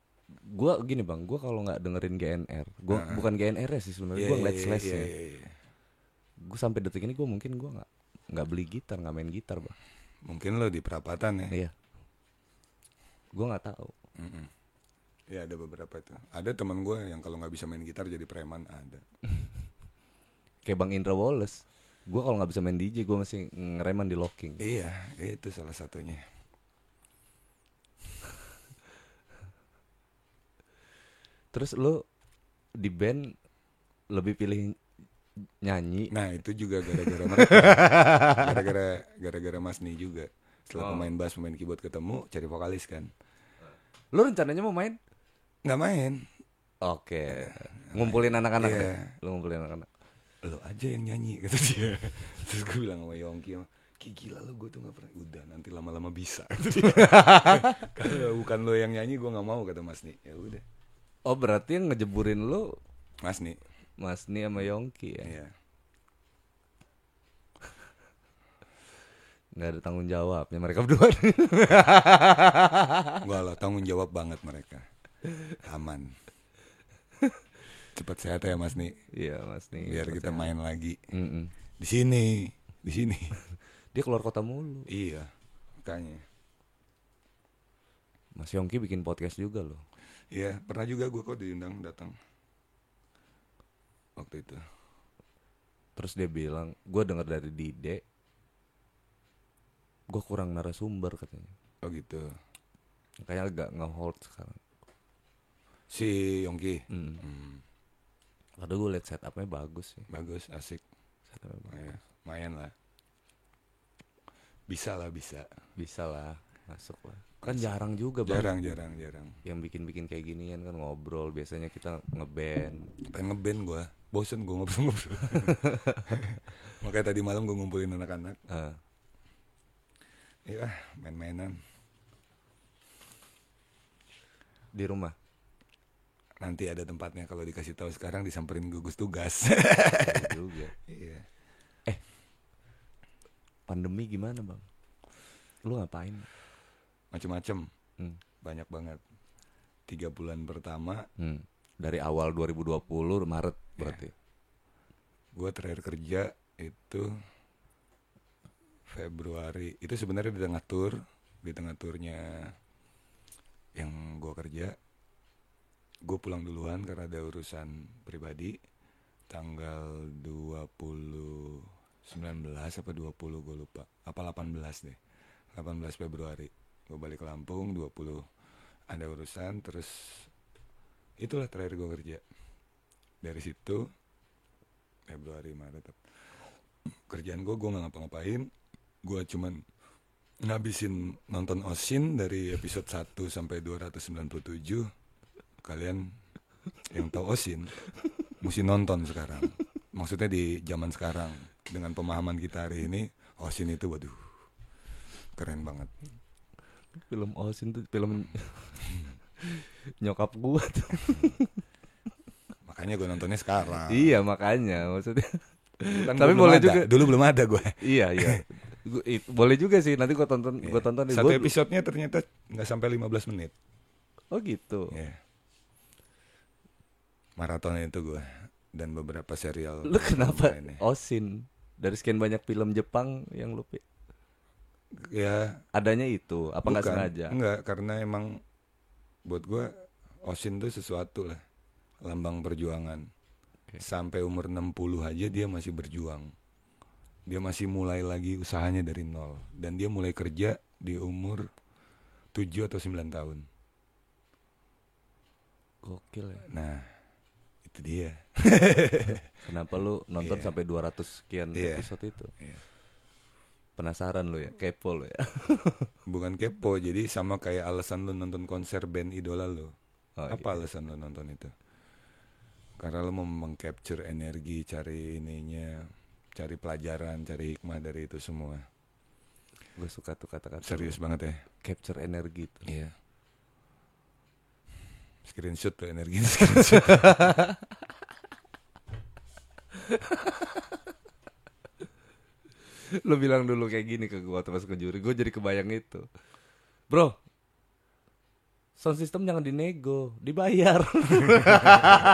Speaker 1: gue gini bang, gue kalau nggak dengerin GNR, gue
Speaker 2: Ah.
Speaker 1: bukan GNR ya sih sebenarnya,
Speaker 2: Iya,
Speaker 1: gue
Speaker 2: iya,
Speaker 1: ngeliat
Speaker 2: iya,
Speaker 1: slash
Speaker 2: iya,
Speaker 1: ya.
Speaker 2: iya, iya.
Speaker 1: Gue sampai detik ini gue mungkin gue nggak nggak beli gitar, nggak main gitar bang.
Speaker 2: mungkin lo di perapatan ya
Speaker 1: Iya. Gue nggak tahu.
Speaker 2: Mm-mm. Iya, ada beberapa itu ada teman gue yang kalau nggak bisa main gitar jadi preman ada
Speaker 1: Kayak Bang Indra Wallace, gue kalau nggak bisa main DJ, gue masih ngereman di locking.
Speaker 2: iya itu salah satunya
Speaker 1: Terus lu di band lebih pilih nyanyi
Speaker 2: Nah itu juga gara-gara mereka ya. Gara-gara gara-gara Mas Ni juga Setelah
Speaker 1: Oh.
Speaker 2: pemain bass, pemain keyboard ketemu Cari vokalis kan
Speaker 1: Lu rencananya mau main?
Speaker 2: Nggak main
Speaker 1: Oke Ngumpulin anak-anak
Speaker 2: Iya.
Speaker 1: deh. Lu ngumpulin anak-anak
Speaker 2: Lo aja yang nyanyi kata dia Terus gue bilang sama Yongki sama, Ki gila lo gue tuh gak pernah Udah nanti lama-lama bisa kata dia. Kalau bukan lo yang nyanyi gue gak mau kata Mas Ni Ya udah
Speaker 1: Oh berarti yang ngejeburin lu
Speaker 2: Mas Ni
Speaker 1: Mas Ni sama Yongki ya
Speaker 2: Iya
Speaker 1: nggak ada tanggung jawabnya mereka berdua
Speaker 2: Enggak lah tanggung jawab banget mereka Aman Cepat sehat ya Mas Ni
Speaker 1: Iya Mas Ni
Speaker 2: Biar kita main lagi
Speaker 1: Mm-mm.
Speaker 2: Di sini Di sini
Speaker 1: Dia keluar kota mulu
Speaker 2: Iya, makanya.
Speaker 1: Mas Yongki bikin podcast juga loh
Speaker 2: Iya, pernah juga gue kok diundang datang waktu itu.
Speaker 1: Terus dia bilang Gue denger dari Dide Gue kurang narasumber katanya
Speaker 2: Oh gitu.
Speaker 1: Kayaknya agak nge-hold sekarang
Speaker 2: Si Yongki,
Speaker 1: Mm.
Speaker 2: Hmm,
Speaker 1: Padahal gue liat setupnya bagus sih
Speaker 2: bagus, asik,
Speaker 1: Setupnya bagus.
Speaker 2: ya, lumayan lah. Bisa lah, bisa.
Speaker 1: Bisa lah Masuk lah Kan jarang juga bang
Speaker 2: Jarang, jarang, jarang.
Speaker 1: yang bikin-bikin kayak ginian kan ngobrol biasanya kita ngeband
Speaker 2: Pengen ngeband gue, bosen gue ngobrol-ngobrol. Makanya tadi malam gue ngumpulin anak-anak.
Speaker 1: Eh,
Speaker 2: Iya, main-mainan.
Speaker 1: di rumah
Speaker 2: Nanti ada tempatnya kalau dikasih tahu sekarang disamperin gugus tugas.
Speaker 1: Iya juga Eh,
Speaker 2: Iya.
Speaker 1: pandemi gimana bang lu ngapain
Speaker 2: Macem-macem,
Speaker 1: Hmm.
Speaker 2: banyak banget. Tiga bulan pertama
Speaker 1: Hmm. dari awal 2020 Maret
Speaker 2: Iya.
Speaker 1: berarti
Speaker 2: gue terakhir kerja itu Februari itu sebenarnya di tengah tur di tengah turnya yang gue kerja gue pulang duluan karena ada urusan pribadi tanggal 20 19 apa 20 gue lupa apa 18 deh 18 Februari gue balik ke Lampung 20 ada urusan terus itulah terakhir gue kerja dari situ Februari Maret kerjaan gue gue nggak ngapa-ngapain gue cuman ngabisin nonton Osin dari episode 1 sampai 297 kalian yang tahu Osin mesti nonton sekarang maksudnya di zaman sekarang dengan pemahaman kita hari ini Osin itu waduh keren banget
Speaker 1: film Osin tuh film nyokap gua tuh
Speaker 2: makanya gue nontonnya sekarang
Speaker 1: iya makanya maksudnya
Speaker 2: Dulu kan
Speaker 1: Tapi
Speaker 2: gua belum
Speaker 1: boleh
Speaker 2: ada.
Speaker 1: juga.
Speaker 2: dulu belum ada gue
Speaker 1: iya iya Gua- it- boleh juga sih nanti gua tonton gua tonton
Speaker 2: Iya. satu
Speaker 1: Gua-
Speaker 2: episodenya ternyata nggak sampai 15 menit
Speaker 1: oh gitu
Speaker 2: Iya. Maraton itu gue dan beberapa serial.
Speaker 1: lu kenapa Oh.
Speaker 2: lainnya.
Speaker 1: Osin dari sekian banyak film Jepang yang lu pi-
Speaker 2: Ya,
Speaker 1: adanya itu apa nggak
Speaker 2: bukan. Hmm.
Speaker 1: sengaja
Speaker 2: Enggak, karena emang buat gue Osin tuh sesuatu lah. Lambang perjuangan.
Speaker 1: Oke.
Speaker 2: Sampai umur 60 aja dia masih berjuang. Dia masih mulai lagi usahanya dari nol dan dia mulai kerja di umur 7 atau 9 tahun.
Speaker 1: gokil ya
Speaker 2: Nah, itu dia.
Speaker 1: kenapa lu nonton
Speaker 2: Iya.
Speaker 1: sampai 200 sekian
Speaker 2: Iya.
Speaker 1: episode itu
Speaker 2: Iya.
Speaker 1: penasaran lu ya kepo lu ya
Speaker 2: Bukan kepo, jadi sama kayak alasan lu nonton konser band idola lu.
Speaker 1: Oh,
Speaker 2: apa alasan lo nonton itu? Karena lo mau mengcapture energi, cari ininya, cari pelajaran, cari hikmah dari itu semua.
Speaker 1: Gue suka tuh kata-kata
Speaker 2: Serius banget ya?
Speaker 1: capture energi itu.
Speaker 2: Iya. Screenshot tuh energi screenshot.
Speaker 1: Lo bilang dulu kayak gini ke gue pas ke juri, gue jadi kebayang itu. Bro, sound system jangan dinego, dibayar.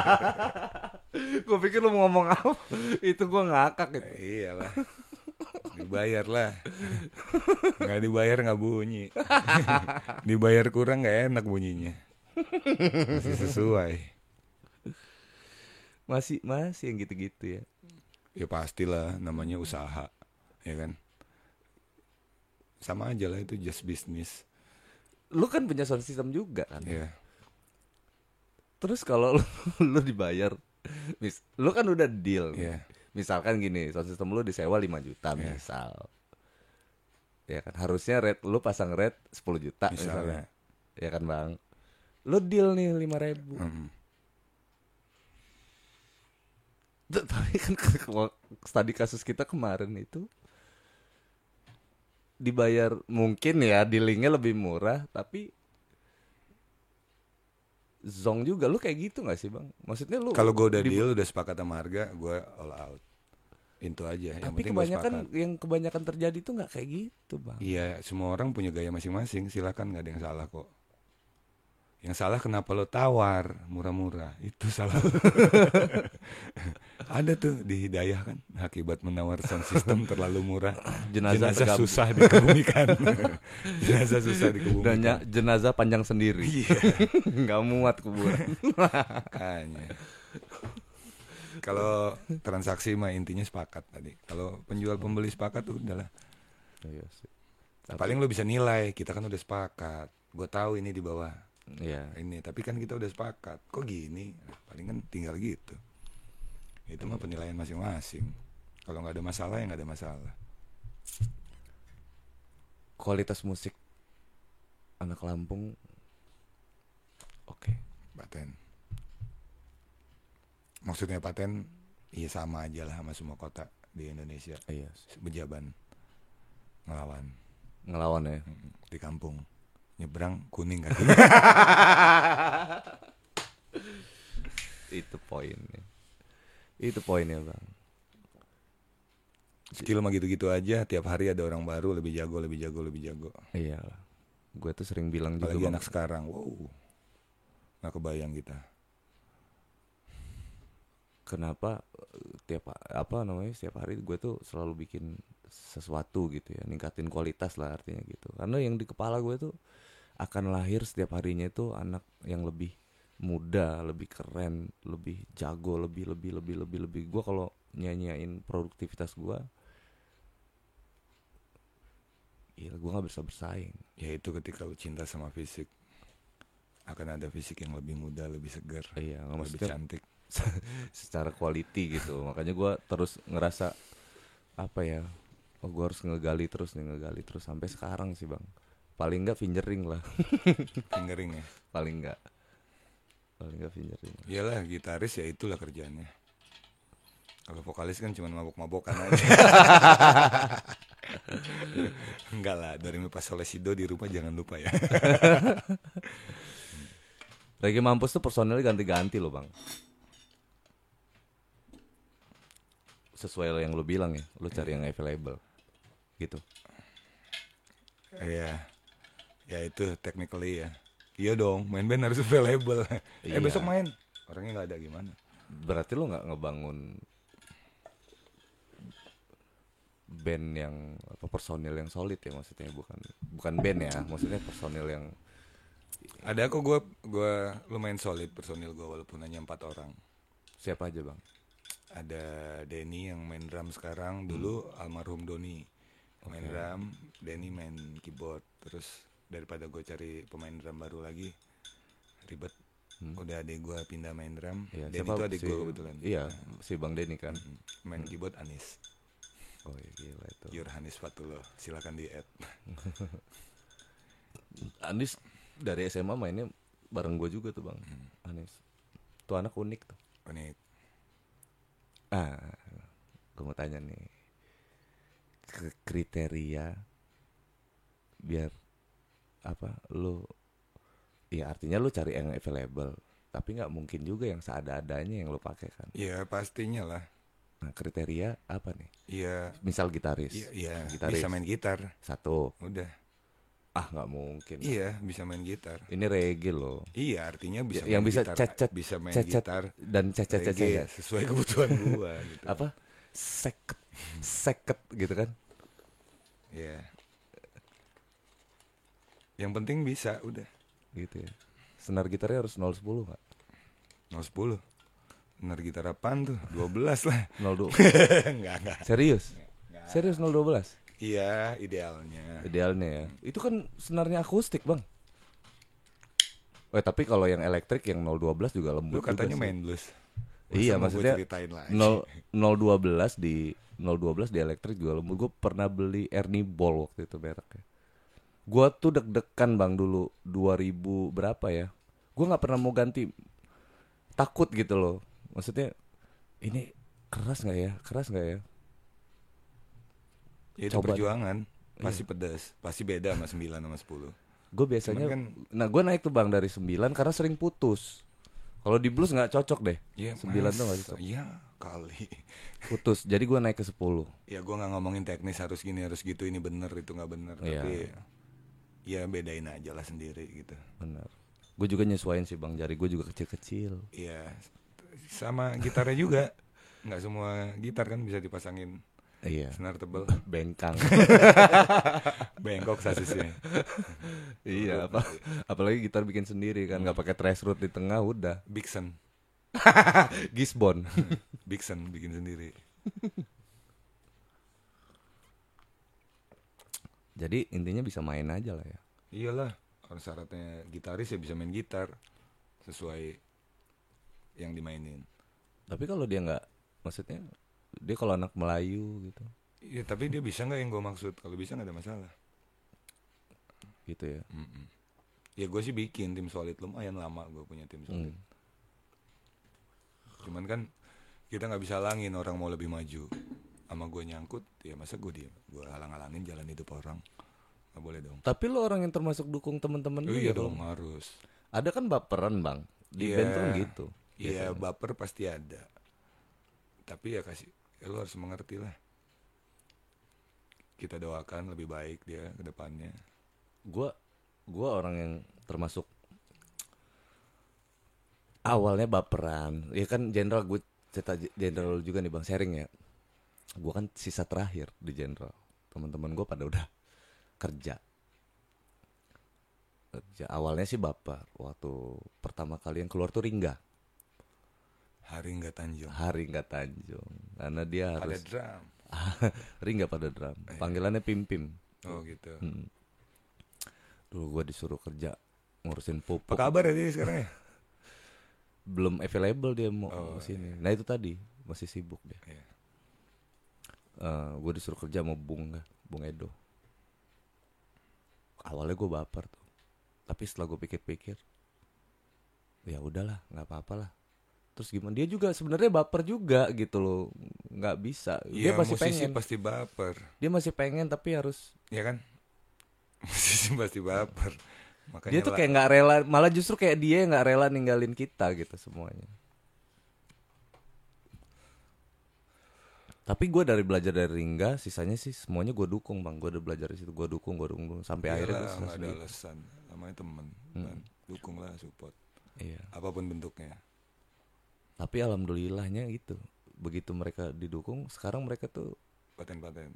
Speaker 1: gue pikir lo mau ngomong apa? Itu gue ngakak gitu. itu.
Speaker 2: Iya lah. Dibayar lah. Nggak dibayar nggak bunyi. dibayar kurang nggak enak bunyinya. Masih sesuai.
Speaker 1: Masih masih yang gitu-gitu ya.
Speaker 2: Ya pastilah namanya
Speaker 1: Hmm.
Speaker 2: usaha, ya kan? Sama aja lah itu just business.
Speaker 1: Lu kan punya sound system juga kan.
Speaker 2: Ya.
Speaker 1: Terus kalau lu, lu dibayar, mis, lu kan udah deal.
Speaker 2: Iya.
Speaker 1: Misalkan gini, sound system lu disewa 5 juta
Speaker 2: Iya.
Speaker 1: misal. Ya kan harusnya rate lu pasang rate 10 juta
Speaker 2: Misalnya.
Speaker 1: misalnya. Ya kan, Bang. Lu deal nih 5 ribu
Speaker 2: Mm.
Speaker 1: Tapi kan ke- ke- tadi kasus kita kemarin itu dibayar mungkin ya dealingnya lebih murah tapi zong juga lu kayak gitu gak sih bang maksudnya lu
Speaker 2: Kalau gue udah
Speaker 1: di-
Speaker 2: deal, udah sepakat sama harga, gue all out. Itu aja. Yang
Speaker 1: tapi
Speaker 2: penting gua
Speaker 1: kebanyakan
Speaker 2: sepakat.
Speaker 1: yang kebanyakan terjadi tuh nggak kayak gitu bang
Speaker 2: Iya, semua orang punya gaya masing-masing. Silakan nggak ada yang salah kok. Yang salah kenapa lo tawar murah-murah? Itu salah. ada tuh di hidayah kan akibat menawar sound system terlalu murah.
Speaker 1: Jenazah tergabung.
Speaker 2: Iya, susah dikebumikan. jenazah susah
Speaker 1: dan
Speaker 2: dikebumikan.
Speaker 1: ya- jenazah panjang sendiri
Speaker 2: Iya.
Speaker 1: nggak muat kuburan
Speaker 2: Makanya. Kalau transaksi mah intinya sepakat tadi. Kalau penjual pembeli sepakat udahlah.
Speaker 1: iya sih
Speaker 2: Paling lo bisa nilai. Kita kan udah sepakat. Gue tahu ini di bawah.
Speaker 1: iya
Speaker 2: ini tapi kan kita udah sepakat kok gini Nah, paling kan tinggal gitu itu mah penilaian masing-masing kalau nggak ada masalah ya nggak ada masalah
Speaker 1: kualitas musik anak Lampung oke
Speaker 2: paten maksudnya paten iya sama aja lah sama semua kota di Indonesia
Speaker 1: iya sih.
Speaker 2: bejaban ngelawan
Speaker 1: ngelawan ya
Speaker 2: Mm-mm. di kampung nyebrang kuning kan
Speaker 1: itu poinnya itu poinnya bang
Speaker 2: skill mah gitu-gitu aja tiap hari ada orang baru lebih jago lebih jago lebih jago
Speaker 1: iya gue tuh sering bilang juga
Speaker 2: apalagi
Speaker 1: Bang.
Speaker 2: anak sekarang wow nggak kebayang kita
Speaker 1: kenapa eh, tiap apa namanya setiap hari gue tuh selalu bikin sesuatu gitu ya ningkatin kualitas lah artinya gitu karena yang di kepala gue tuh akan lahir setiap harinya itu anak yang lebih muda lebih keren lebih jago lebih lebih lebih lebih lebih gue kalau nyanyiin produktivitas gue Iya, gue nggak bisa bersaing.
Speaker 2: yaitu Ya ketika lu cinta sama fisik akan ada fisik yang lebih muda lebih segar
Speaker 1: Iya, nggak
Speaker 2: lebih
Speaker 1: maksudnya
Speaker 2: cantik
Speaker 1: secara quality gitu makanya gua terus ngerasa apa ya oh gue harus ngegali terus nih ngegali terus sampai sekarang sih bang paling nggak fingering lah
Speaker 2: fingering ya
Speaker 1: paling nggak paling nggak fingering
Speaker 2: iyalah gitaris ya itulah kerjaannya kalau vokalis kan cuma mabok-mabokan aja enggak lah dari Mipas Soleh Sido di rumah jangan lupa ya
Speaker 1: Reggae Mampus tuh personelnya ganti-ganti loh bang sesuai yang lu bilang ya lu cari yang available gitu
Speaker 2: iya ya itu technically ya iya dong main band harus available eh
Speaker 1: Iya.
Speaker 2: besok main orangnya nggak ada gimana
Speaker 1: berarti lu nggak ngebangun band yang apa personil yang solid ya maksudnya bukan bukan band ya maksudnya personil yang
Speaker 2: ada kok gue gue lumayan solid personil gue walaupun hanya empat orang
Speaker 1: siapa aja bang
Speaker 2: ada Denny yang main drum sekarang dulu almarhum Doni main drum Denny main keyboard terus daripada gue cari pemain drum baru lagi ribet udah adik gue pindah main drum
Speaker 1: Iya,
Speaker 2: Denny itu adik gue kebetulan
Speaker 1: iya si bang Denny kan
Speaker 2: Hmm. main keyboard Anis
Speaker 1: oh iya gila itu
Speaker 2: Yurhanis Fatullah silakan di add
Speaker 1: Andis dari SMA mainnya bareng gue juga tuh bang Hmm. Anis tuh anak unik tuh
Speaker 2: Unik.
Speaker 1: ah gue mau tanya nih K- kriteria biar apa lu ya artinya lu cari yang available tapi nggak mungkin juga yang seada-adanya yang lu pakai kan
Speaker 2: Ya pastinya lah.
Speaker 1: nah kriteria apa nih
Speaker 2: Iya.
Speaker 1: misal gitaris
Speaker 2: Iya, iya.
Speaker 1: Gitaris.
Speaker 2: bisa main gitar.
Speaker 1: satu
Speaker 2: Udah.
Speaker 1: ah nggak mungkin
Speaker 2: Iya, bisa main gitar.
Speaker 1: ini reggae loh
Speaker 2: Iya, artinya bisa
Speaker 1: yang
Speaker 2: main
Speaker 1: bisa
Speaker 2: gitar,
Speaker 1: cecet
Speaker 2: bisa main
Speaker 1: cecet
Speaker 2: gitar.
Speaker 1: dan cecet cecet
Speaker 2: reggae, sesuai kebutuhan gua gitu.
Speaker 1: apa seket seket gitu kan
Speaker 2: Iya. Yang penting bisa, udah.
Speaker 1: gitu ya senar gitarnya harus 010 nggak
Speaker 2: 010. Bener gitar apaan tuh? 12 lah.
Speaker 1: 02
Speaker 2: enggak, enggak.
Speaker 1: serius serius 012
Speaker 2: Iya, idealnya.
Speaker 1: idealnya ya itu kan senarnya akustik bang Eh tapi kalau yang elektrik yang 012 juga
Speaker 2: Lu
Speaker 1: lembut juga
Speaker 2: katanya
Speaker 1: sih.
Speaker 2: main blues.
Speaker 1: Iya
Speaker 2: Masa mau gua
Speaker 1: maksudnya
Speaker 2: ceritain lagi.
Speaker 1: 0 012 di 012 di elektrik juga lembut. Gue pernah beli Ernie Ball waktu itu mereknya. Gue tuh deg-degan bang dulu 2000 berapa ya? Gue nggak pernah mau ganti. Takut gitu loh. Maksudnya ini keras nggak ya? Keras nggak ya?
Speaker 2: Ya, itu
Speaker 1: Coba. Iya.
Speaker 2: perjuangan. Pasti pedas, pasti beda sama 9 sama 10.
Speaker 1: Gue biasanya,
Speaker 2: Cuman kan
Speaker 1: nah gue naik tuh bang dari 9 karena sering putus. Kalau di blues nggak cocok deh.
Speaker 2: Ya,
Speaker 1: 9 tuh nggak gitu?
Speaker 2: masa?
Speaker 1: cocok.
Speaker 2: Iya, kali.
Speaker 1: Putus. Jadi gue naik ke 10
Speaker 2: Ya gua nggak ngomongin teknis harus gini harus gitu ini bener itu nggak bener
Speaker 1: Iya.
Speaker 2: tapi ya bedain aja lah sendiri gitu.
Speaker 1: Bener. Gue juga nyesuaiin sih bang jari gue juga kecil-kecil.
Speaker 2: Iya sama gitarnya juga nggak semua gitar kan bisa dipasangin
Speaker 1: Iya.
Speaker 2: senar tebel
Speaker 1: bengkang
Speaker 2: bengkok sasisnya.
Speaker 1: iya apa apalagi gitar bikin sendiri kan nggak pakai trash root di tengah udah
Speaker 2: Bixen,
Speaker 1: gisbon
Speaker 2: Bixen bikin sendiri.
Speaker 1: jadi intinya bisa main aja lah ya
Speaker 2: Iyalah harus syaratnya gitaris ya bisa main gitar sesuai yang dimainin.
Speaker 1: tapi kalau dia nggak maksudnya dia kalau anak Melayu gitu
Speaker 2: Iya tapi dia bisa nggak yang gue maksud kalau bisa nggak ada masalah.
Speaker 1: gitu ya
Speaker 2: Mm-mm. Ya gue sih bikin tim solid lumayan lama gue punya tim solid. Cuman kan kita nggak bisa halangin orang mau lebih maju. Sama gue nyangkut, ya masa gue diem. Gue halang-halangin jalan hidup orang. Gak boleh dong.
Speaker 1: tapi lo orang yang termasuk dukung temen-temen
Speaker 2: Oh,
Speaker 1: lu
Speaker 2: iya
Speaker 1: ya, Bang?
Speaker 2: dong harus.
Speaker 1: ada kan baperan bang di
Speaker 2: Iya.
Speaker 1: band tuh gitu
Speaker 2: Iya baper pasti ada. Tapi ya kasih, ya lu harus mengerti lah. Kita doakan lebih baik dia ke depannya.
Speaker 1: gua gua orang yang termasuk awalnya baperan ya kan general gue cerita j- general juga nih bang sharing ya gua kan sisa terakhir di general teman-teman gua pada udah kerja kerja awalnya sih baper waktu pertama kali yang keluar tuh Ringga
Speaker 2: Hari nggak tanjung.
Speaker 1: hari nggak Tanjung karena dia
Speaker 2: Ada
Speaker 1: harus
Speaker 2: drum.
Speaker 1: Ringga pada drum panggilannya Pim Pim
Speaker 2: Oh gitu.
Speaker 1: dulu gua disuruh kerja ngurusin pupuk
Speaker 2: Apa kabar ya dia sekarang ya?
Speaker 1: belum available dia mau ke sini. Nah itu tadi masih sibuk dia.
Speaker 2: Iya.
Speaker 1: gue disuruh kerja sama Bung Bung Edo. Awalnya gue baper tuh, tapi setelah gue pikir-pikir, ya udahlah, nggak apa-apalah. Terus gimana? Dia juga sebenarnya baper juga gitu loh, nggak bisa. Dia
Speaker 2: Iya,
Speaker 1: masih
Speaker 2: musisi
Speaker 1: pengen.
Speaker 2: pasti baper,
Speaker 1: Dia masih pengen tapi harus.
Speaker 2: ya kan? Musisi pasti baper. Makanya
Speaker 1: Dia tuh
Speaker 2: lah,
Speaker 1: kayak nggak rela, malah justru kayak dia yang nggak rela ninggalin kita gitu semuanya. Tapi gue dari belajar dari Ringga, sisanya sih semuanya gue dukung bang. Gue udah belajar di situ, gue dukung, gue dukung, dukung. sampai
Speaker 2: iyalah,
Speaker 1: akhirnya Hmm. gue
Speaker 2: Iya, nggak ada
Speaker 1: sendiri.
Speaker 2: alasan. Namanya temen, kan? dukunglah, support,
Speaker 1: Iya.
Speaker 2: apapun bentuknya.
Speaker 1: Tapi alhamdulillahnya gitu. Begitu mereka didukung, sekarang mereka tuh
Speaker 2: Paten-paten.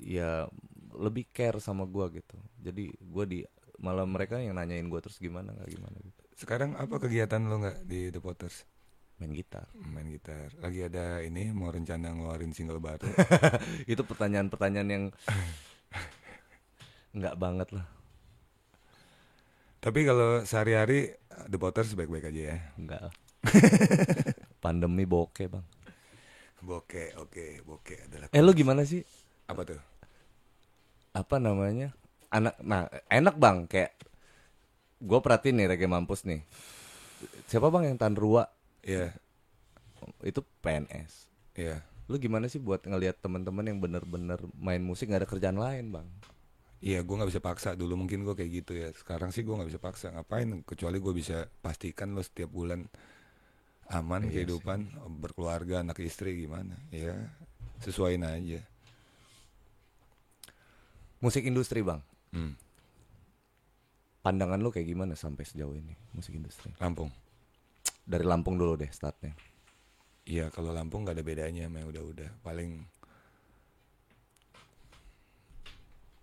Speaker 1: ya lebih care sama gue gitu. Jadi gue di malah mereka yang nanyain gue terus gimana nggak gimana gitu.
Speaker 2: Sekarang apa kegiatan lo nggak di The Potters?
Speaker 1: Main gitar.
Speaker 2: Main gitar. Lagi ada ini mau rencana ngeluarin single baru.
Speaker 1: itu pertanyaan-pertanyaan yang nggak banget lah
Speaker 2: Tapi kalau sehari-hari The Potters baik-baik aja ya.
Speaker 1: nggak lah. pandemi bokeh bang
Speaker 2: Boke, oke, boke adalah
Speaker 1: eh lu gimana sih
Speaker 2: apa tuh?
Speaker 1: apa namanya anak nah enak bang kayak gue perhatiin nih reggae mampus nih. Siapa bang yang tanrua
Speaker 2: Iya,
Speaker 1: itu PNS.
Speaker 2: iya.
Speaker 1: Lu gimana sih buat ngelihat teman-teman yang bener-bener main musik nggak ada kerjaan lain bang?
Speaker 2: Iya, gue nggak bisa paksa dulu mungkin gue kayak gitu ya. Sekarang sih gue nggak bisa paksa ngapain, kecuali gue bisa pastikan lo setiap bulan aman kehidupan, berkeluarga, anak istri gimana, ya sesuaiin aja.
Speaker 1: Musik industri bang,
Speaker 2: Hmm.
Speaker 1: pandangan lu kayak gimana sampai sejauh ini musik industri?
Speaker 2: Lampung,
Speaker 1: Dari Lampung dulu deh startnya.
Speaker 2: iya kalau Lampung nggak ada bedanya, sama yang udah-udah paling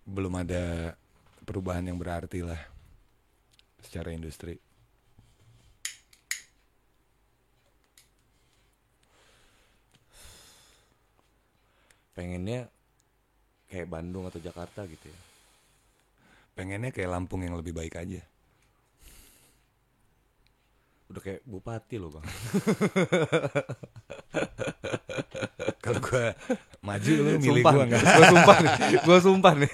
Speaker 2: belum ada perubahan yang berarti lah secara industri.
Speaker 1: Pengennya kayak Bandung atau Jakarta gitu ya.
Speaker 2: Pengennya kayak Lampung yang lebih baik aja.
Speaker 1: Udah kayak bupati loh bang.
Speaker 2: Kalau gue maju lu milih
Speaker 1: sumpah,
Speaker 2: gue nggak?
Speaker 1: gue sumpah nih, gue sumpah nih.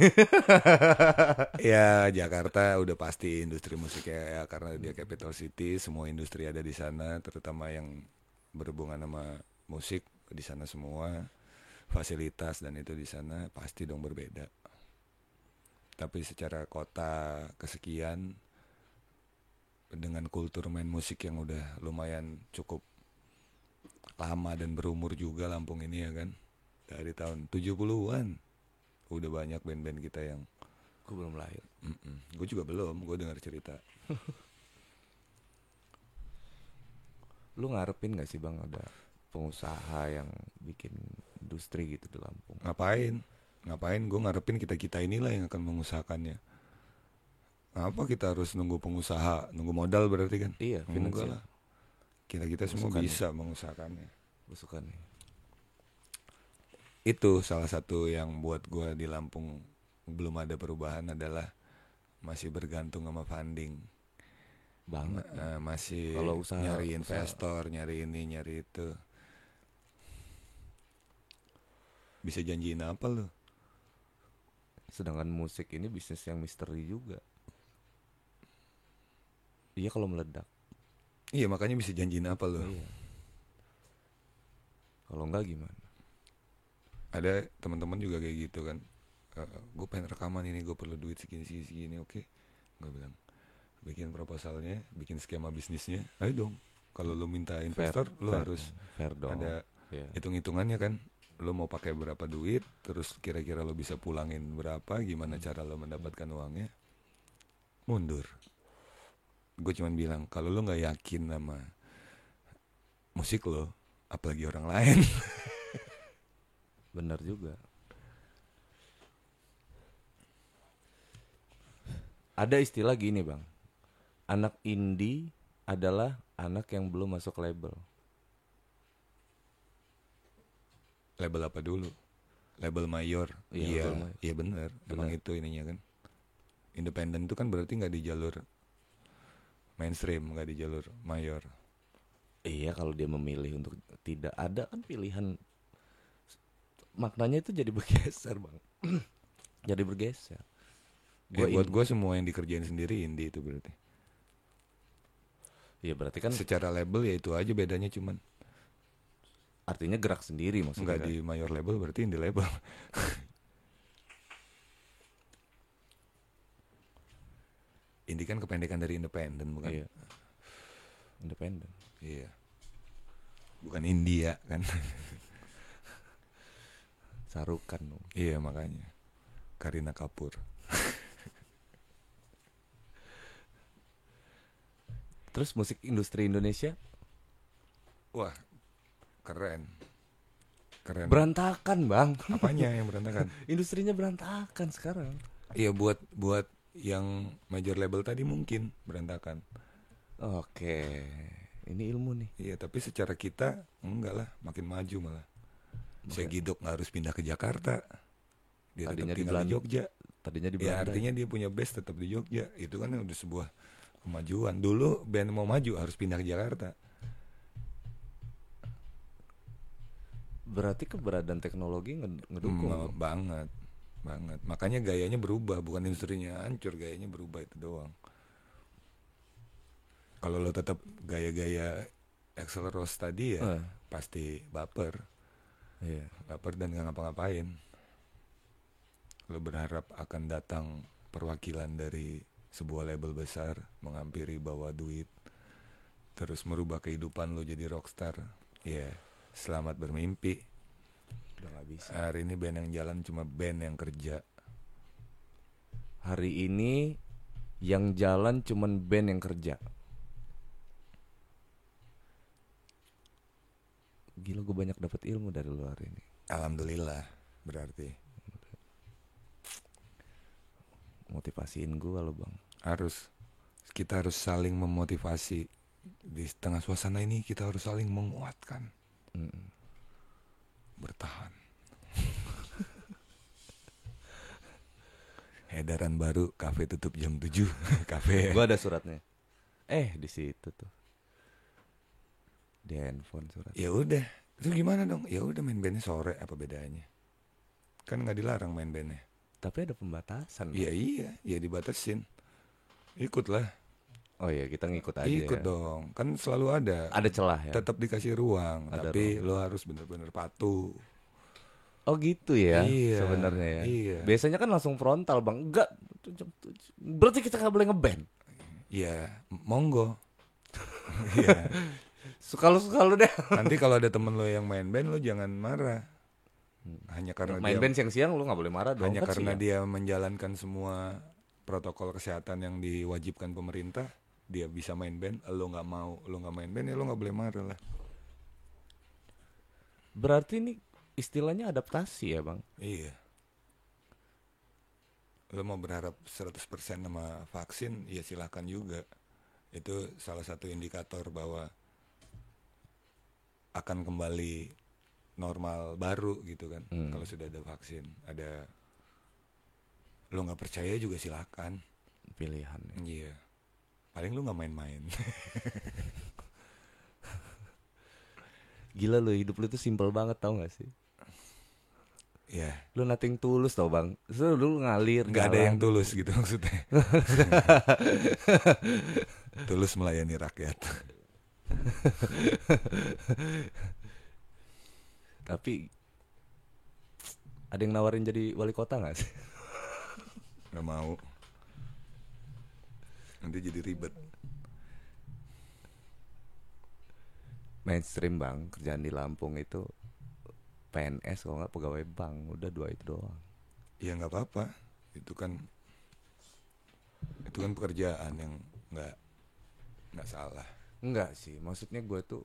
Speaker 2: Ya Jakarta udah pasti industri musiknya ya, karena dia capital city, semua industri ada di sana, terutama yang berhubungan sama musik di sana semua, fasilitas dan itu di sana pasti dong berbeda. Tapi secara kota kesekian dengan kultur main musik yang udah lumayan cukup lama dan berumur juga Lampung ini ya kan. Dari tahun 70-an udah banyak band-band kita yang
Speaker 1: gue belum lahir.
Speaker 2: Gue juga belum, gue dengar cerita.
Speaker 1: Lu ngarepin gak sih bang ada pengusaha yang bikin industri gitu di Lampung?
Speaker 2: Ngapain? Ngapain gue ngarepin kita-kita inilah yang akan mengusahakannya. Apa kita harus nunggu pengusaha, nunggu modal berarti kan?
Speaker 1: Iya,
Speaker 2: Enggak
Speaker 1: finansial.
Speaker 2: lah. Kita-kita semua
Speaker 1: Mengusahakannya.
Speaker 2: bisa mengusahakannya.
Speaker 1: Gue suka nih.
Speaker 2: Itu salah satu yang buat gue di Lampung belum ada perubahan adalah masih bergantung sama funding.
Speaker 1: Banget.
Speaker 2: Eh, masih
Speaker 1: Kalau usaha-
Speaker 2: nyari
Speaker 1: usaha.
Speaker 2: investor, nyari ini, nyari itu. Bisa janjiin apa lu?
Speaker 1: Sedangkan musik ini bisnis yang misteri juga. Iya kalau meledak.
Speaker 2: Iya makanya bisa janjiin apa lo?
Speaker 1: Iya. Kalau enggak gimana?
Speaker 2: Ada teman-teman juga kayak gitu kan. gue pengen rekaman ini, gue perlu duit segini segini segini, oke? Gue bilang bikin proposalnya, bikin skema bisnisnya, ayo dong. Kalau lo minta investor, lo
Speaker 1: fair.
Speaker 2: harus
Speaker 1: Fair dong.
Speaker 2: ada
Speaker 1: Iya.
Speaker 2: hitung-hitungannya kan. Lo mau pakai berapa duit, terus kira-kira lo bisa pulangin berapa, gimana
Speaker 1: Hmm.
Speaker 2: cara lo mendapatkan uangnya? Mundur. Gue cuman bilang kalau lo nggak yakin sama musik lo, apalagi orang lain.
Speaker 1: Bener juga. Ada istilah gini bang, anak indie adalah anak yang belum masuk label.
Speaker 2: label apa dulu? Label mayor.
Speaker 1: Iya, label mayor.
Speaker 2: iya benar. Emang itu ininya kan. Independen itu kan berarti nggak di jalur mainstream, nggak di jalur mayor.
Speaker 1: Iya kalau dia memilih untuk tidak ada kan pilihan maknanya itu jadi bergeser bang, jadi bergeser.
Speaker 2: Ya,
Speaker 1: Gua
Speaker 2: buat gue semua yang dikerjain sendiri indie itu berarti.
Speaker 1: Iya berarti kan
Speaker 2: Secara label ya itu aja bedanya cuman
Speaker 1: artinya gerak sendiri maksudnya.
Speaker 2: nggak
Speaker 1: kan?
Speaker 2: di mayor label berarti indie label. indie kan kependekan dari independen bukan?
Speaker 1: Iya. Independen.
Speaker 2: Iya. Bukan India kan?
Speaker 1: Sarukan dong.
Speaker 2: iya makanya. Karina Kapur.
Speaker 1: Terus musik industri Indonesia
Speaker 2: Wah, keren. Keren.
Speaker 1: berantakan bang.
Speaker 2: Apanya yang berantakan?
Speaker 1: Industrinya berantakan sekarang.
Speaker 2: Iya buat buat yang major label tadi mungkin berantakan.
Speaker 1: Oke, ini ilmu nih.
Speaker 2: Iya, tapi secara kita enggak lah, makin maju malah. Saya gidok nggak harus pindah ke Jakarta.
Speaker 1: Tadinya
Speaker 2: Dia
Speaker 1: di
Speaker 2: tetap tinggal di,
Speaker 1: Belanda.
Speaker 2: Jogja.
Speaker 1: Tadinya di
Speaker 2: Ya
Speaker 1: Belanda.
Speaker 2: artinya dia punya base tetap di Jogja. Itu kan udah sebuah kemajuan. Dulu band mau maju harus pindah ke Jakarta.
Speaker 1: Berarti keberadaan teknologi nge- ngedukung.
Speaker 2: Mau Hmm, banget, banget. Makanya gayanya berubah, bukan industrinya hancur, gayanya berubah itu doang. kalau lo tetap gaya-gaya Axel Rose tadi ya
Speaker 1: Eh,
Speaker 2: pasti baper
Speaker 1: iya.
Speaker 2: baper dan nggak ngapa-ngapain lo berharap akan datang perwakilan dari sebuah label besar menghampiri bawa duit terus merubah kehidupan lo jadi rockstar ya selamat bermimpi Hmm.
Speaker 1: Udah nggak bisa.
Speaker 2: hari ini band yang jalan cuma band yang kerja
Speaker 1: Hari ini yang jalan cuman band yang kerja. Gila gue banyak dapat ilmu dari lu hari ini.
Speaker 2: alhamdulillah berarti
Speaker 1: Motivasiin gue lo bang.
Speaker 2: harus kita harus saling memotivasi di tengah suasana ini kita harus saling menguatkan
Speaker 1: Mm.
Speaker 2: bertahan. Edaran baru, kafe tutup jam 7. kafe.
Speaker 1: Gue ada suratnya. Eh di situ tuh. Di handphone surat.
Speaker 2: Ya udah. Itu gimana dong? Ya udah main bandnya sore, apa bedanya? Kan nggak dilarang main bandnya.
Speaker 1: Tapi ada pembatasan.
Speaker 2: Ya iya, ya dibatasin. Ikutlah,
Speaker 1: Oh iya kita ngikut aja. ya.
Speaker 2: ikut dong. Kan selalu ada.
Speaker 1: Ada celah ya.
Speaker 2: Tetap dikasih ruang,
Speaker 1: Ada
Speaker 2: tapi lo harus bener-bener patuh.
Speaker 1: Oh gitu ya
Speaker 2: Iya,
Speaker 1: sebenarnya ya.
Speaker 2: iya.
Speaker 1: Biasanya kan langsung frontal bang. Enggak. Berarti kita nggak boleh ngeband.
Speaker 2: Ya, monggo. Iya.
Speaker 1: Suka lu suka lu deh.
Speaker 2: Nanti kalau ada temen lo yang main band lo jangan marah. Hanya karena
Speaker 1: Hmm. Main
Speaker 2: dia,
Speaker 1: band siang-siang lu nggak boleh marah dong.
Speaker 2: hanya
Speaker 1: kan
Speaker 2: karena
Speaker 1: siang.
Speaker 2: dia menjalankan semua protokol kesehatan yang diwajibkan pemerintah, dia bisa main band, lo nggak mau, lo nggak main band ya lo nggak boleh marah lah.
Speaker 1: Berarti ini istilahnya adaptasi ya bang.
Speaker 2: Iya. Lo mau berharap 100% sama vaksin, ya silakan juga. Itu salah satu indikator bahwa akan kembali normal baru gitu kan.
Speaker 1: Hmm.
Speaker 2: Kalau sudah ada vaksin, ada lo nggak percaya juga silakan.
Speaker 1: Pilihan. ya.
Speaker 2: Iya. Paling lu nggak main-main.
Speaker 1: Gila lu hidup lu tuh simple banget tau gak sih?
Speaker 2: Iya.
Speaker 1: Lu nothing tulus tau bang. Lu, lu ngalir.
Speaker 2: Nggak ada
Speaker 1: jalan.
Speaker 2: yang tulus gitu maksudnya. tulus melayani rakyat.
Speaker 1: Tapi ada yang nawarin jadi wali kota gak sih?
Speaker 2: Gak mau Nanti jadi ribet
Speaker 1: Mainstream bang. Kerjaan di Lampung itu PNS kalau nggak pegawai bank. Udah dua itu doang.
Speaker 2: Ya nggak apa-apa Itu kan Itu kan pekerjaan yang nggak nggak salah
Speaker 1: Enggak sih, maksudnya gue tuh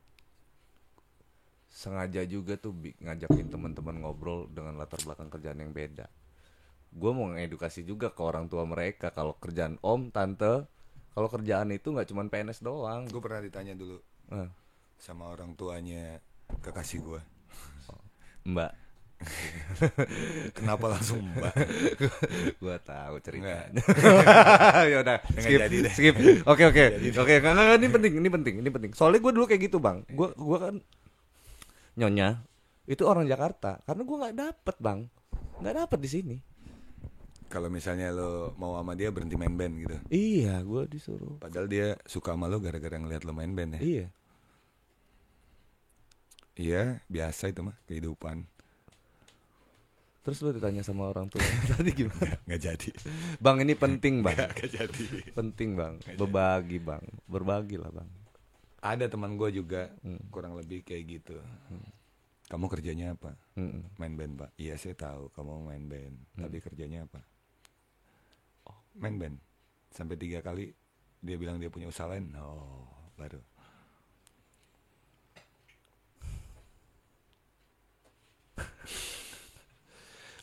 Speaker 1: sengaja juga tuh bi- ngajakin teman-teman ngobrol dengan latar belakang kerjaan yang beda. Gue mau ngedukasi juga ke orang tua mereka kalau kerjaan om, tante, kalau kerjaan itu nggak cuman PNS doang.
Speaker 2: Gue pernah ditanya dulu
Speaker 1: Eh,
Speaker 2: Sama orang tuanya Kekasih gue
Speaker 1: mbak,
Speaker 2: Kenapa langsung mbak
Speaker 1: gue tahu
Speaker 2: Nggak.
Speaker 1: ceritanya. ya udah,
Speaker 2: Nggak
Speaker 1: skip,
Speaker 2: jadi deh.
Speaker 1: skip. Oke oke, oke. Nggak nggak, ini penting, ini penting, ini penting. Soalnya gue dulu kayak gitu bang. Gue gua kan nyonya itu orang Jakarta karena gue nggak dapet bang, nggak dapet di sini.
Speaker 2: Kalau misalnya lo mau sama dia berhenti main band gitu
Speaker 1: Iya, gue disuruh.
Speaker 2: Padahal dia suka sama lo gara-gara ngeliat lo main band ya
Speaker 1: Iya.
Speaker 2: Iya biasa itu mah kehidupan
Speaker 1: Terus lu ditanya sama orang tua tadi gimana?
Speaker 2: nggak jadi
Speaker 1: Bang ini penting bang,
Speaker 2: nggak jadi
Speaker 1: penting bang, berbagi bang, berbagi lah bang.
Speaker 2: Ada teman gue juga kurang lebih kayak gitu. Kamu kerjanya apa?
Speaker 1: Mm-mm.
Speaker 2: Main band pak. Iya saya tahu kamu main band.
Speaker 1: Hmm.
Speaker 2: Tapi kerjanya apa?
Speaker 1: Oh.
Speaker 2: Main band. Sampai tiga kali dia bilang dia punya usaha lain. Oh baru.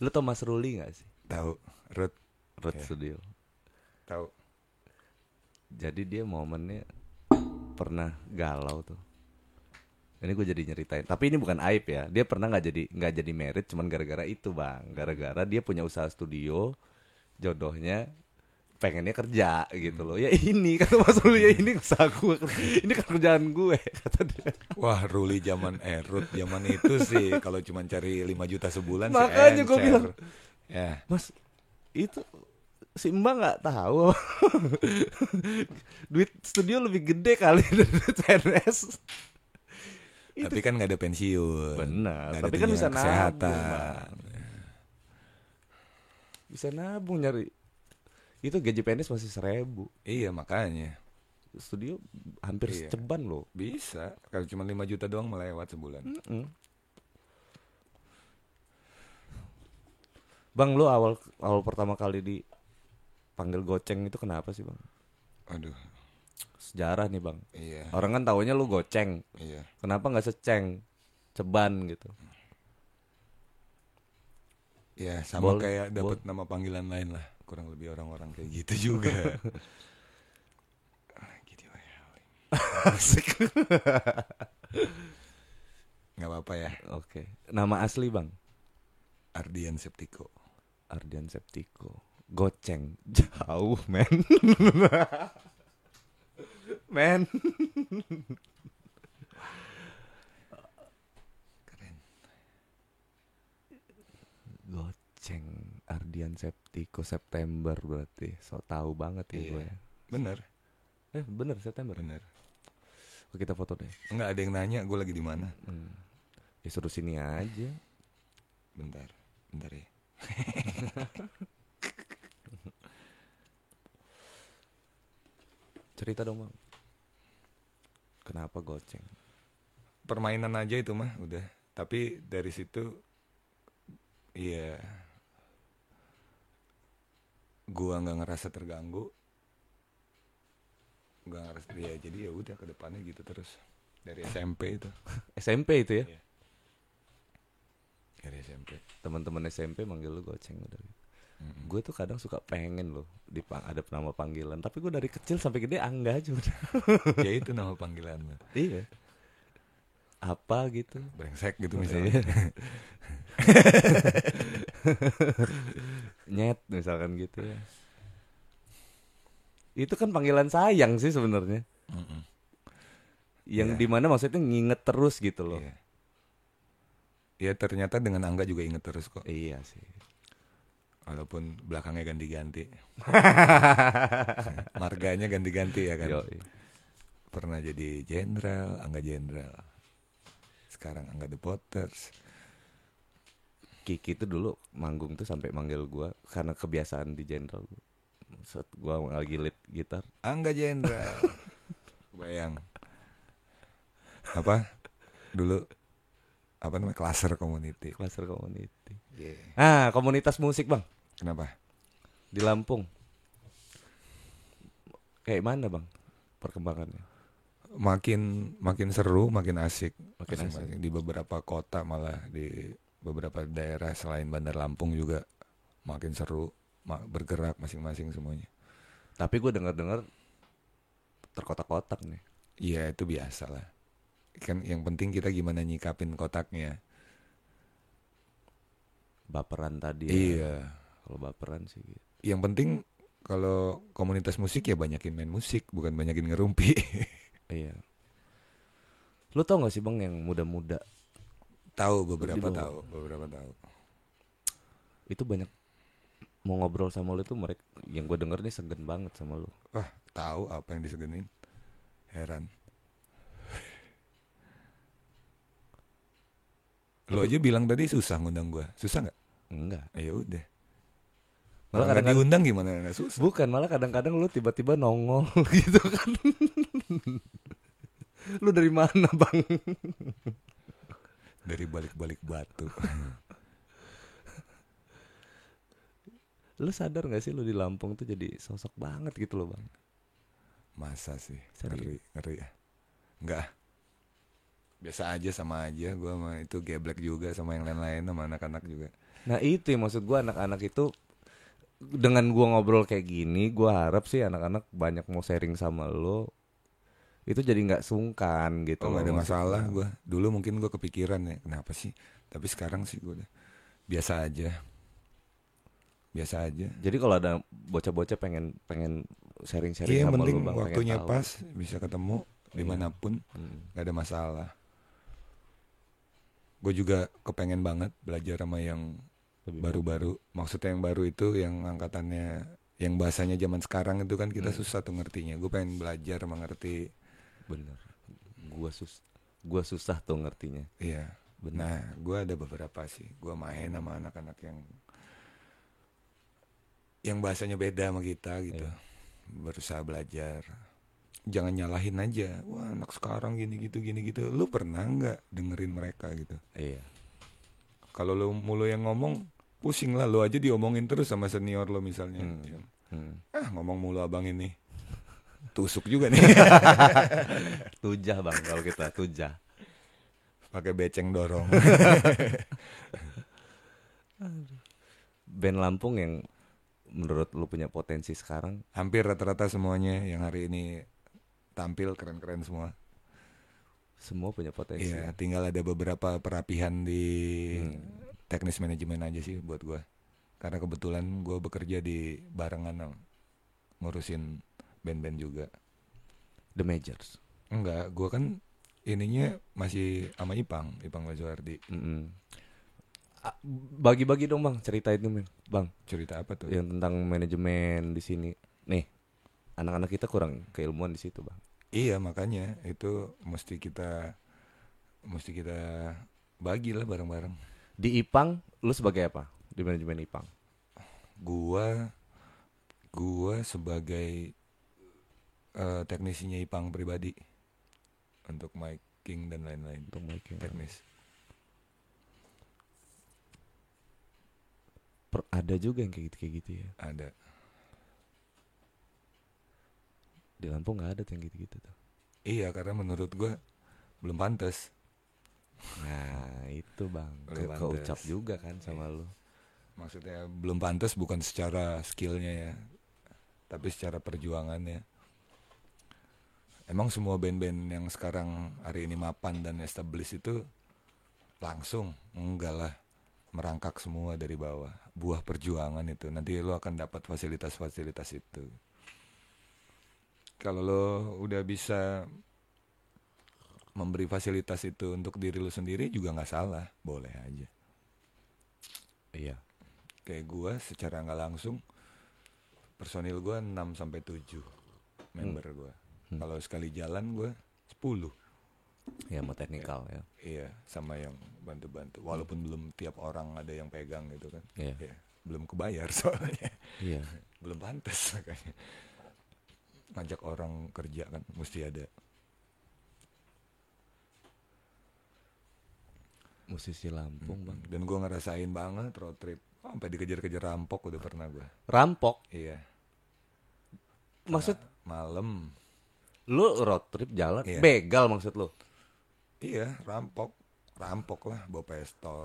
Speaker 1: Lu tau Mas Ruli gak sih?
Speaker 2: Tahu. Rut
Speaker 1: Road
Speaker 2: Iya.
Speaker 1: Studio.
Speaker 2: tahu.
Speaker 1: Jadi dia momennya pernah galau tuh. Ini gue jadi nyeritain. Tapi ini bukan aib ya. Dia pernah nggak jadi nggak jadi merit, cuman gara-gara itu bang. Gara-gara dia punya usaha studio, jodohnya pengennya kerja gitu loh. Ya ini kata Mas Ruli ya ini usaha gue, ini kan kerjaan gue kata dia.
Speaker 2: Wah Ruli zaman eh Rut zaman itu sih kalau cuma cari 5 juta sebulan sih Ya,
Speaker 1: Makanya gua
Speaker 2: encer.
Speaker 1: bilang.
Speaker 2: Ya.
Speaker 1: Mas itu si Mbak nggak tahu. duit studio lebih gede kali dari duit PNS. Itu-
Speaker 2: Tapi kan nggak ada pensiun.
Speaker 1: Benar,
Speaker 2: Nggak ada
Speaker 1: tapi kan bisa nabung,
Speaker 2: tunjangan kesehatan.
Speaker 1: Bisa nabung nyari. Itu gaji PNS masih seribu.
Speaker 2: Iya makanya
Speaker 1: Studio hampir
Speaker 2: Iya.
Speaker 1: seceban loh.
Speaker 2: bisa. Kalau cuma 5 juta doang melewat sebulan.
Speaker 1: Mm. Bang, lu awal awal pertama kali dipanggil goceng itu kenapa sih, Bang?
Speaker 2: Aduh,
Speaker 1: Sejarah nih, Bang.
Speaker 2: iya,
Speaker 1: Orang kan taunya lu goceng.
Speaker 2: iya.
Speaker 1: Kenapa nggak seceng? Ceban gitu.
Speaker 2: Ya sama
Speaker 1: Bol-
Speaker 2: kayak dapat nama panggilan lain lah. Kurang lebih orang-orang kayak gitu juga. Ah, gitu ya. Gini, woy.
Speaker 1: Asik.
Speaker 2: nggak apa-apa ya.
Speaker 1: Oke. Nama asli, Bang?
Speaker 2: Ardian Septiko.
Speaker 1: Ardian Septiko. Goceng. Jauh, men. men.
Speaker 2: Keren.
Speaker 1: Goceng. Ardian Septiko September berarti. So tahu banget ya
Speaker 2: Iya.
Speaker 1: gue. ya.
Speaker 2: Bener,
Speaker 1: Eh, bener September.
Speaker 2: bener.
Speaker 1: Oh, kita foto deh.
Speaker 2: Nggak ada yang nanya gue lagi di mana.
Speaker 1: Hmm. Ya suruh sini aja.
Speaker 2: Bentar, bentar ya.
Speaker 1: Cerita dong, Bang. Kenapa goceng?
Speaker 2: Permainan aja itu mah udah. Tapi dari situ, iya. Gua nggak ngerasa terganggu. Nggak ngerasa ya jadi ya udah ke depannya gitu terus dari SMP itu.
Speaker 1: SMP itu ya?
Speaker 2: Iya. Dari SMP.
Speaker 1: Teman-teman SMP manggil lu goceng udah gitu.
Speaker 2: Mm-mm.
Speaker 1: Gue tuh kadang suka pengen loh dipang ada nama panggilan, tapi gue dari kecil sampai gede angga aja udah.
Speaker 2: ya itu nama panggilan lu.
Speaker 1: iya. Apa gitu? Iya.
Speaker 2: Brengsek gitu misalnya.
Speaker 1: Nyet misalkan gitu ya. Itu kan panggilan sayang sih sebenarnya.
Speaker 2: Mm-mm.
Speaker 1: Yang
Speaker 2: Iya.
Speaker 1: dimana maksudnya nginget terus gitu loh.
Speaker 2: Iya. Ya ternyata dengan Angga juga inget terus kok.
Speaker 1: Iya sih.
Speaker 2: Walaupun belakangnya ganti-ganti. Marganya ganti-ganti ya kan.
Speaker 1: Yoi.
Speaker 2: Pernah jadi jenderal, Angga jenderal. Sekarang Angga The Potters.
Speaker 1: Kiki tuh dulu manggung tuh sampai manggil gua karena kebiasaan di general gua. Set gua lagi lead gitar.
Speaker 2: Angga jenderal. Bayang. Apa? Dulu apa namanya klaser community.
Speaker 1: Cluster community.
Speaker 2: Iya.
Speaker 1: Ah, komunitas musik, Bang,
Speaker 2: Kenapa?
Speaker 1: di Lampung. Kayak mana, Bang? Perkembangannya.
Speaker 2: Makin makin seru, makin asik.
Speaker 1: Makin asik.
Speaker 2: Masing-masing. Di beberapa kota malah di beberapa daerah selain Bandar Lampung juga makin seru, ma- bergerak masing-masing semuanya.
Speaker 1: Tapi gua dengar-dengar terkotak-kotak nih.
Speaker 2: Iya itu biasa lah. Kan yang penting kita gimana nyikapin kotaknya.
Speaker 1: Baperan tadi. ya.
Speaker 2: Iya.
Speaker 1: Kalau baperan sih gitu.
Speaker 2: Yang penting kalau komunitas musik ya banyakin main musik, bukan banyakin ngerumpi.
Speaker 1: Iya. Lu tau gak sih, Bang, yang muda-muda
Speaker 2: tahu
Speaker 1: Di
Speaker 2: beberapa
Speaker 1: bawah.
Speaker 2: tahu, beberapa tahu.
Speaker 1: itu banyak mau ngobrol sama lu tuh mereka yang gue denger nih segen banget sama lu.
Speaker 2: Wah, tahu apa yang disegenin? Heran. Lo aja bilang tadi susah ngundang gua. Susah nggak?
Speaker 1: Enggak.
Speaker 2: Ya udah.
Speaker 1: Malah
Speaker 2: Kalau nggak
Speaker 1: kadang-kadang-
Speaker 2: diundang gimana? Nggak susah.
Speaker 1: Bukan, malah kadang-kadang lu tiba-tiba nongol gitu kan. lu dari mana, Bang?
Speaker 2: Dari balik-balik batu.
Speaker 1: Lu sadar gak sih lu di Lampung tuh jadi sosok banget gitu loh, Bang.
Speaker 2: Masa sih?
Speaker 1: Serius.
Speaker 2: Ngeri, ngeri ya. Enggak. Biasa aja sama aja gua sama itu geblek juga sama yang lain-lain sama anak-anak juga.
Speaker 1: Nah, itu yang maksud gua anak-anak itu dengan gua ngobrol kayak gini, gua harap sih anak-anak banyak mau sharing sama lu. Itu jadi nggak sungkan gitu.
Speaker 2: Oh,
Speaker 1: loh,
Speaker 2: nggak ada
Speaker 1: maksud
Speaker 2: masalah
Speaker 1: gua.
Speaker 2: gua. Dulu mungkin gua kepikiran ya, kenapa sih? Tapi sekarang sih gua udah biasa aja. Biasa aja.
Speaker 1: Jadi kalau ada bocah-bocah pengen pengen sharing-sharing
Speaker 2: Iya, yang
Speaker 1: sama
Speaker 2: penting
Speaker 1: lu, Bang, pengen
Speaker 2: waktunya
Speaker 1: tahu.
Speaker 2: pas, bisa ketemu dimanapun,
Speaker 1: Hmm.
Speaker 2: nggak ada masalah. Gue juga kepengen banget belajar sama yang
Speaker 1: Lebih
Speaker 2: baru-baru. Maksudnya yang baru itu yang angkatannya yang bahasanya zaman sekarang itu kan kita susah tuh ngertinya gue pengen belajar mengerti
Speaker 1: bener gua sus gua susah tuh ngertinya
Speaker 2: iya
Speaker 1: Bener.
Speaker 2: nah gue ada beberapa sih gue main sama anak-anak yang yang bahasanya beda sama kita gitu berusaha belajar jangan nyalahin aja wah anak sekarang gini gitu gini gitu lu pernah nggak dengerin mereka gitu
Speaker 1: iya
Speaker 2: kalau lu mulu yang ngomong pusing lah lu aja diomongin terus sama senior lo misalnya
Speaker 1: hmm.
Speaker 2: ah ngomong mulu abang ini tusuk juga nih
Speaker 1: tujah bang kalau kita tujah
Speaker 2: pakai beceng dorong
Speaker 1: band Lampung yang menurut lu punya potensi sekarang
Speaker 2: hampir rata-rata semuanya yang hari ini tampil keren-keren semua
Speaker 1: semua punya potensi
Speaker 2: Iya, tinggal ada beberapa perapihan di teknis manajemen aja sih buat gua. Karena kebetulan gua bekerja di barengan Om. ngurusin band-band juga.
Speaker 1: The Majors
Speaker 2: Enggak, gua kan ininya masih sama Ipang, Ipang Lazuardi.
Speaker 1: Mm-mm. A- bagi-bagi dong bang cerita itu men. bang
Speaker 2: Cerita apa tuh?
Speaker 1: yang tentang manajemen di sini nih anak-anak kita kurang keilmuan di situ bang
Speaker 2: Iya, makanya itu mesti kita mesti kita bagilah bareng-bareng.
Speaker 1: di Ipang lu sebagai apa di manajemen Ipang
Speaker 2: gua gua sebagai eh, teknisinya Ipang pribadi untuk miking dan lain-lain
Speaker 1: untuk making
Speaker 2: teknis
Speaker 1: per- ada juga yang kayak gitu kayak gitu ya
Speaker 2: ada
Speaker 1: di Lampung nggak ada tuh yang gitu-gitu tuh
Speaker 2: iya karena menurut gua belum pantas
Speaker 1: nah itu bang
Speaker 2: Lu
Speaker 1: Ke-
Speaker 2: pantes.
Speaker 1: keucap juga kan sama lu
Speaker 2: maksudnya belum pantas bukan secara skillnya ya tapi secara perjuangannya emang semua band-band yang sekarang hari ini mapan dan established itu langsung enggak lah merangkak semua dari bawah buah perjuangan itu nanti lo akan dapat fasilitas-fasilitas itu kalau lo udah bisa memberi fasilitas itu untuk diri lo sendiri juga nggak salah boleh aja
Speaker 1: iya
Speaker 2: kayak gua secara nggak langsung personil gua 6 sampai 7 member gua. Kalau sekali jalan gua 10.
Speaker 1: ya mau teknikal ya
Speaker 2: Iya, sama yang bantu-bantu. Walaupun belum tiap orang ada yang pegang gitu kan.
Speaker 1: Iya.
Speaker 2: Iya, belum kebayar soalnya.
Speaker 1: iya
Speaker 2: belum pantas makanya. Ngajak orang kerja kan mesti ada.
Speaker 1: musisi Lampung bang
Speaker 2: Dan gua ngerasain banget road trip. Sampai dikejar-kejar rampok udah pernah gua.
Speaker 1: rampok
Speaker 2: Iya.
Speaker 1: maksud
Speaker 2: Malam.
Speaker 1: lu road trip jalan
Speaker 2: Iya.
Speaker 1: begal maksud lu
Speaker 2: Iya, rampok. Rampok lah, bawa pistol.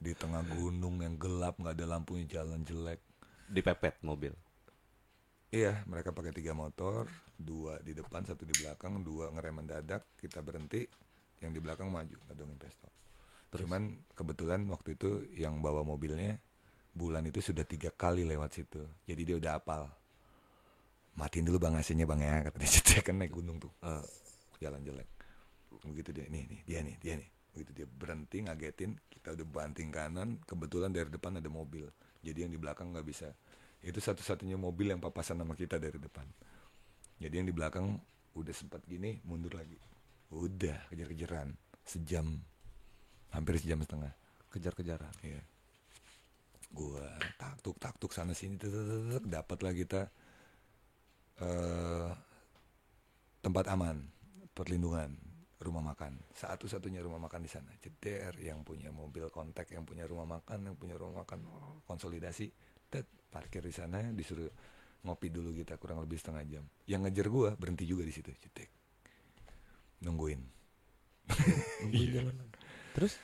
Speaker 2: di tengah gunung yang gelap, nggak ada lampunya jalan jelek.
Speaker 1: dipepet mobil
Speaker 2: Iya, mereka pakai tiga motor, dua di depan, satu di belakang, dua ngerem mendadak, kita berhenti, yang di belakang maju, ngadongin pistol. Cuman kebetulan waktu itu yang bawa mobilnya bulan itu sudah tiga kali lewat situ, jadi dia udah apal. Matiin dulu bang AC-nya bang ya, kata dia, "Dia kan naik gunung tuh, jalan jelek. Begitu dia, nih nih dia nih dia nih, begitu dia berhenti ngagetin, kita udah banting kanan, kebetulan dari depan ada mobil, jadi yang di belakang nggak bisa. Itu satu-satunya mobil yang papasan sama kita dari depan. Jadi yang di belakang udah sempat gini mundur lagi. Udah kejar-kejaran sejam hampir sejam setengah.
Speaker 1: kejar-kejaran
Speaker 2: Iya. Gua taktuk taktuk sana sini tetetetet, dapatlah kita eh tempat aman, perlindungan, rumah makan. Satu-satunya rumah makan di sana. Ceder yang punya mobil kontak, yang punya rumah makan, yang punya rumah makan oh, konsolidasi. Tet, parkir di sana disuruh ngopi dulu kita kurang lebih setengah jam. Yang ngejar gua berhenti juga di situ, cetek. Nungguin.
Speaker 1: Iya. terus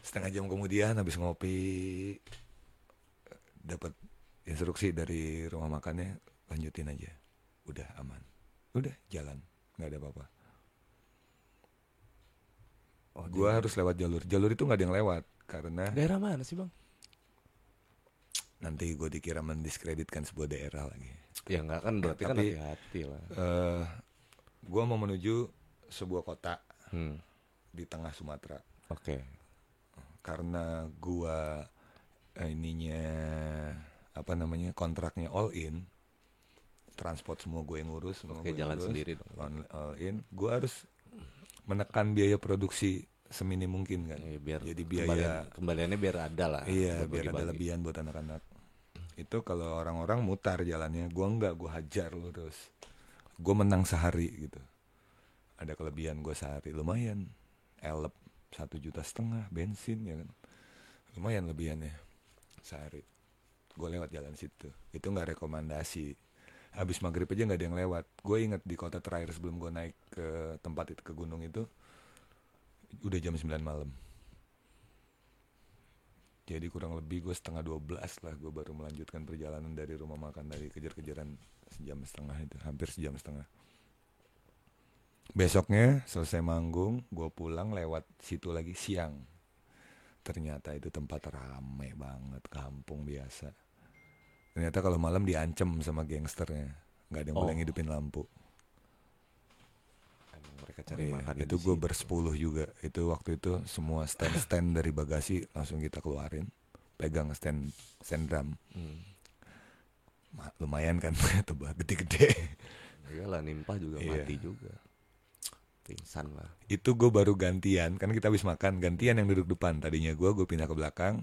Speaker 2: setengah jam kemudian habis ngopi eh, dapat instruksi dari rumah makannya lanjutin aja udah aman udah jalan nggak ada apa-apa
Speaker 1: oh,
Speaker 2: gua harus lewat jalur jalur itu nggak ada yang lewat karena
Speaker 1: daerah mana sih bang
Speaker 2: nanti gue dikira mendiskreditkan sebuah daerah lagi
Speaker 1: ya nggak kan berarti kan
Speaker 2: tapi-
Speaker 1: hati-hati lah
Speaker 2: eh gue mau menuju sebuah kota
Speaker 1: hmm.
Speaker 2: di tengah Sumatera
Speaker 1: oke
Speaker 2: karena gua eh, ininya apa namanya kontraknya all in transport semua gue yang ngurus semua
Speaker 1: Oke,
Speaker 2: gue yang
Speaker 1: jalan
Speaker 2: ngurus,
Speaker 1: sendiri dong.
Speaker 2: all, all in gue harus menekan biaya produksi seminim mungkin kan
Speaker 1: Ya, biar
Speaker 2: jadi biaya
Speaker 1: kembalian- kembaliannya biar ada lah.
Speaker 2: Iya, biar
Speaker 1: berbagi-bagi.
Speaker 2: ada lebihan buat anak-anak. Itu kalau orang-orang mutar jalannya, gua enggak, gua hajar lu terus. Gua menang sehari gitu. Ada kelebihan gua sehari lumayan. Elep satu juta setengah bensin ya kan. Lumayan lebihannya sehari. Gue lewat jalan situ. Itu nggak rekomendasi. Habis maghrib aja nggak ada yang lewat. Gue inget di kota terakhir sebelum gue naik ke tempat itu ke gunung itu udah jam 9 malam. Jadi kurang lebih gue setengah 12 lah gue baru melanjutkan perjalanan dari rumah makan dari kejar-kejaran sejam setengah itu hampir sejam setengah. Besoknya selesai manggung gue pulang lewat situ lagi siang. Ternyata itu tempat rame banget kampung biasa. Ternyata kalau malam diancem sama gangsternya nggak ada yang boleh
Speaker 1: Oh.
Speaker 2: ngidupin lampu.
Speaker 1: Emang mereka cari
Speaker 2: Iya,
Speaker 1: makan
Speaker 2: itu gue bersepuluh juga itu waktu itu semua stand stand dari bagasi langsung kita keluarin pegang stand stand drum
Speaker 1: Hmm.
Speaker 2: Ma- lumayan kan tebak gede-gede
Speaker 1: Iyalah nimpah juga
Speaker 2: Iya.
Speaker 1: mati juga. Pingsan lah.
Speaker 2: itu gue baru gantian kan kita habis makan gantian yang duduk depan tadinya gue gue pindah ke belakang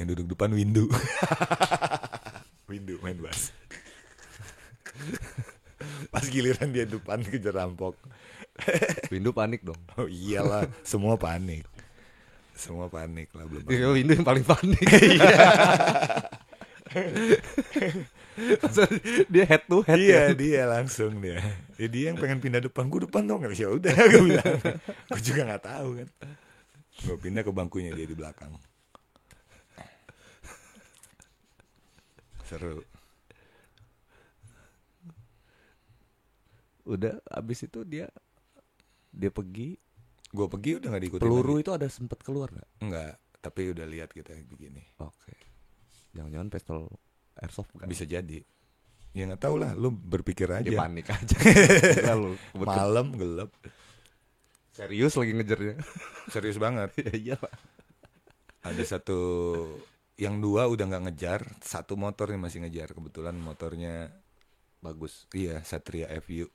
Speaker 2: yang duduk depan windu windu main bass pas giliran dia depan kejar rampok
Speaker 1: Windu panik dong.
Speaker 2: oh iyalah semua panik semua panik lah belum
Speaker 1: Iya, Windu yang paling panik. Maksudnya dia head to head
Speaker 2: Iya
Speaker 1: ya.
Speaker 2: dia langsung dia. Ya, dia yang pengen pindah depan gue depan dong nggak bisa udah gue bilang. Gue juga nggak tahu kan. Gue pindah ke bangkunya dia di belakang. Seru.
Speaker 1: Udah abis itu dia dia pergi.
Speaker 2: Gue pergi udah nggak diikutin.
Speaker 1: Peluru itu ada sempat keluar nggak?
Speaker 2: Enggak. Tapi udah lihat kita begini.
Speaker 1: Oke. Jangan-jangan pistol airsoft kan?
Speaker 2: Bisa jadi. Ya nggak tahu lah. Lu berpikir
Speaker 1: Dia
Speaker 2: aja.
Speaker 1: panik aja. Lalu
Speaker 2: Malam gelap.
Speaker 1: serius lagi ngejarnya.
Speaker 2: Serius banget.
Speaker 1: ya iya pak.
Speaker 2: Ada satu yang dua udah nggak ngejar, satu motor yang masih ngejar. Kebetulan motornya
Speaker 1: Bagus.
Speaker 2: Iya, Satria FU.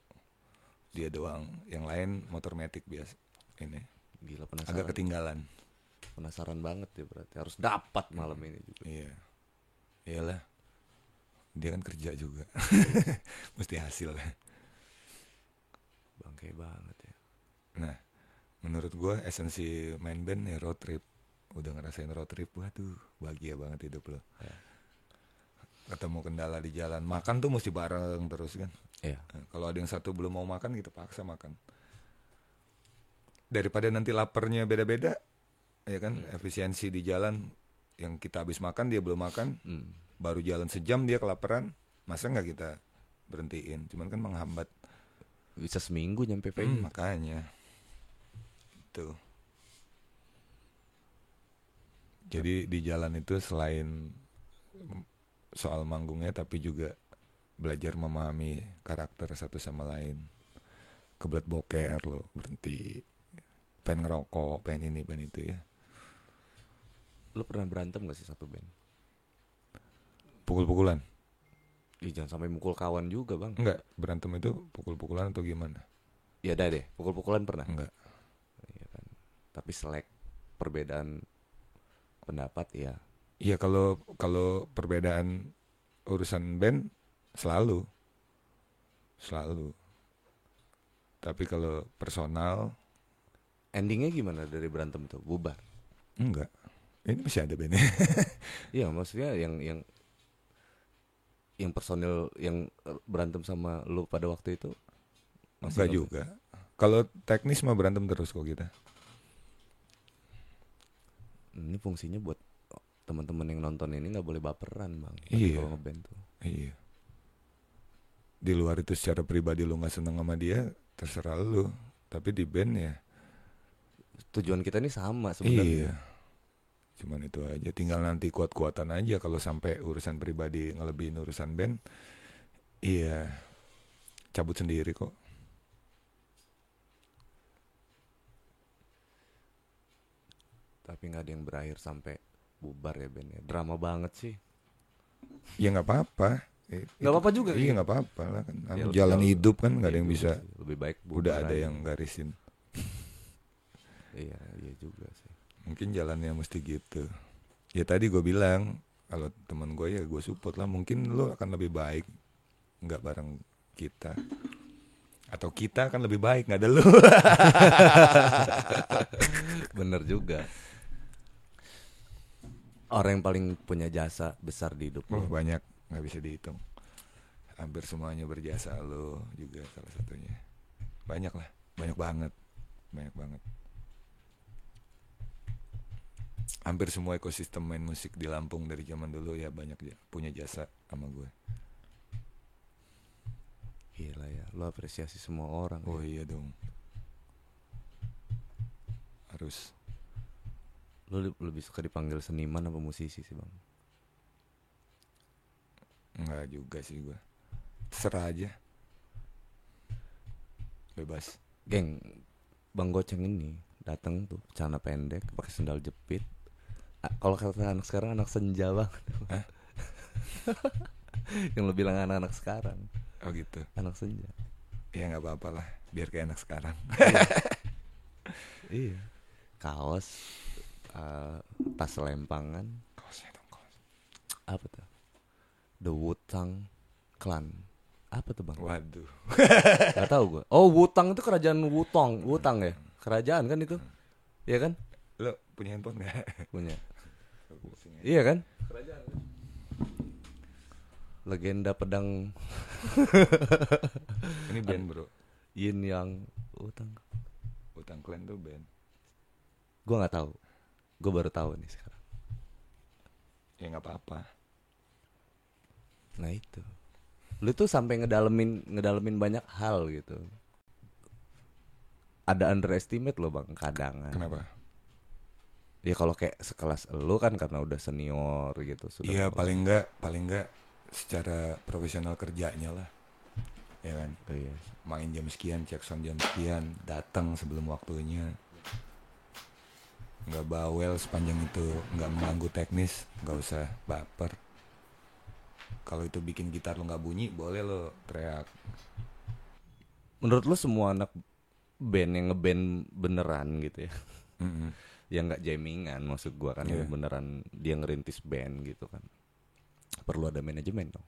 Speaker 2: Dia doang. Yang lain motor Matic biasa. Ini
Speaker 1: Gila
Speaker 2: agak
Speaker 1: penasaran.
Speaker 2: ketinggalan.
Speaker 1: penasaran banget ya berarti harus dapat malam ini juga.
Speaker 2: Iya. Iyalah. Dia kan kerja juga. Mesti hasil.
Speaker 1: Bangke banget ya.
Speaker 2: Nah, menurut gua esensi main band ya road trip. Udah ngerasain road trip, waduh, bahagia banget hidup lo.
Speaker 1: Iya.
Speaker 2: Ketemu kendala di jalan, makan tuh mesti bareng terus kan.
Speaker 1: Iya.
Speaker 2: Nah, Kalau ada yang satu belum mau makan kita paksa makan. Daripada nanti laparnya beda-beda, ya kan efisiensi di jalan yang kita habis makan dia belum makan,
Speaker 1: Hmm.
Speaker 2: baru jalan sejam dia kelaparan, masa nggak kita berhentiin? Cuman kan menghambat
Speaker 1: Bisa seminggu nyampe
Speaker 2: Hmm,
Speaker 1: venue.
Speaker 2: makanya. Tuh. Jadi di jalan itu selain soal manggungnya tapi juga belajar memahami karakter satu sama lain. Kebelet boker lo, berhenti. Pengen ngerokok, pengen ini, pengen itu ya.
Speaker 1: Lu pernah berantem gak sih satu band?
Speaker 2: Pukul-pukulan?
Speaker 1: Ih, jangan sampai mukul kawan juga bang.
Speaker 2: Enggak, berantem itu pukul-pukulan atau gimana?
Speaker 1: Ya ada deh. Pukul-pukulan pernah.
Speaker 2: Enggak.
Speaker 1: Iya kan. Tapi selek perbedaan pendapat ya.
Speaker 2: Iya kalau kalau perbedaan urusan band selalu selalu. Tapi kalau personal
Speaker 1: Endingnya gimana dari berantem itu? Bubar.
Speaker 2: enggak. Ini masih ada bandnya.
Speaker 1: Iya maksudnya yang yang yang personil yang eh, berantem sama lu pada waktu itu
Speaker 2: enggak juga. Kalau teknis mah berantem terus kok kita.
Speaker 1: ini fungsinya buat teman-teman yang nonton ini nggak boleh baperan bang Berarti
Speaker 2: Iya.
Speaker 1: kalau ngeband tuh
Speaker 2: Iya. Di luar itu secara pribadi lu nggak seneng sama dia, terserah lu. Tapi di band ya.
Speaker 1: tujuan kita ini sama sebenarnya
Speaker 2: Iya. Cuman itu aja. Tinggal nanti kuat-kuatan aja kalau sampai urusan pribadi ngelebihin urusan band. Iya. Cabut sendiri kok.
Speaker 1: tapi nggak ada yang berakhir sampai bubar ya bandnya drama banget ya. sih
Speaker 2: ya nggak apa-apa Eh,
Speaker 1: Nggak
Speaker 2: itu-
Speaker 1: apa-apa juga,
Speaker 2: iya
Speaker 1: gitu.
Speaker 2: nggak apa-apa lah kan
Speaker 1: Ya, lebih
Speaker 2: jalan
Speaker 1: jauh.
Speaker 2: hidup kan nggak ada yang
Speaker 1: Itu
Speaker 2: bisa
Speaker 1: Iya sih, lebih baik
Speaker 2: udah
Speaker 1: bubar
Speaker 2: ada
Speaker 1: aja.
Speaker 2: yang garisin
Speaker 1: iya iya juga sih
Speaker 2: mungkin jalannya mesti gitu ya tadi gue bilang kalau teman gue ya gue support lah mungkin lo akan lebih baik nggak bareng kita atau kita akan lebih baik nggak ada lo
Speaker 1: bener juga orang yang paling punya jasa besar di hidup
Speaker 2: Wah,
Speaker 1: lo
Speaker 2: banyak nggak bisa dihitung hampir semuanya berjasa lo juga salah satunya banyak lah banyak banget banyak banget hampir semua ekosistem main musik di Lampung dari zaman dulu ya banyak ya punya jasa sama gue
Speaker 1: gila ya lo apresiasi semua orang
Speaker 2: Oh iya dong. Harus
Speaker 1: lo le- lebih suka dipanggil seniman apa musisi sih bang
Speaker 2: enggak juga sih gua. Terserah aja. Bebas.
Speaker 1: geng bang goceng ini datang tuh celana pendek pakai sendal jepit A- kalau kata anak sekarang anak senja banget
Speaker 2: Hah?
Speaker 1: yang lo bilang anak-anak sekarang
Speaker 2: Oh gitu.
Speaker 1: anak senja
Speaker 2: Ya nggak apa-apa lah. Biar kayak anak sekarang.
Speaker 1: iya kaos eh, tas lempangan
Speaker 2: Kaosnya dong kaos.
Speaker 1: apa tuh The Wutang Clan apa tuh bang
Speaker 2: Waduh.
Speaker 1: Gak tau gue oh Wutang itu kerajaan Wutong Wutang ya kerajaan kan itu Iya kan
Speaker 2: Lo punya handphone nggak?
Speaker 1: punya
Speaker 2: Pusing aja.
Speaker 1: iya kan legenda pedang
Speaker 2: Ini band bro.
Speaker 1: Yin Yang Wutang
Speaker 2: Utang Clan tuh band.
Speaker 1: gue nggak tahu gue baru tahu nih sekarang
Speaker 2: Ya nggak apa-apa.
Speaker 1: nah itu lu tuh sampai ngedalemin ngedalemin banyak hal gitu ada underestimate loh bang kadangan
Speaker 2: Kenapa?
Speaker 1: Ya kalau kayak sekelas elu kan karena udah senior gitu sudah.
Speaker 2: Iya paling nggak paling nggak secara profesional kerjanya lah. Ya kan.
Speaker 1: Oh, iya.
Speaker 2: main jam sekian, cek sound jam sekian, datang sebelum waktunya. Nggak bawel sepanjang itu nggak mengganggu teknis, nggak usah baper. Kalau itu bikin gitar lo nggak bunyi, boleh lo teriak.
Speaker 1: Menurut lu semua anak band yang ngeband beneran gitu ya.
Speaker 2: Mm-mm.
Speaker 1: yang nggak jamingan maksud gua kan
Speaker 2: Iya.
Speaker 1: yang beneran dia ngerintis band gitu kan. Perlu ada manajemen dong.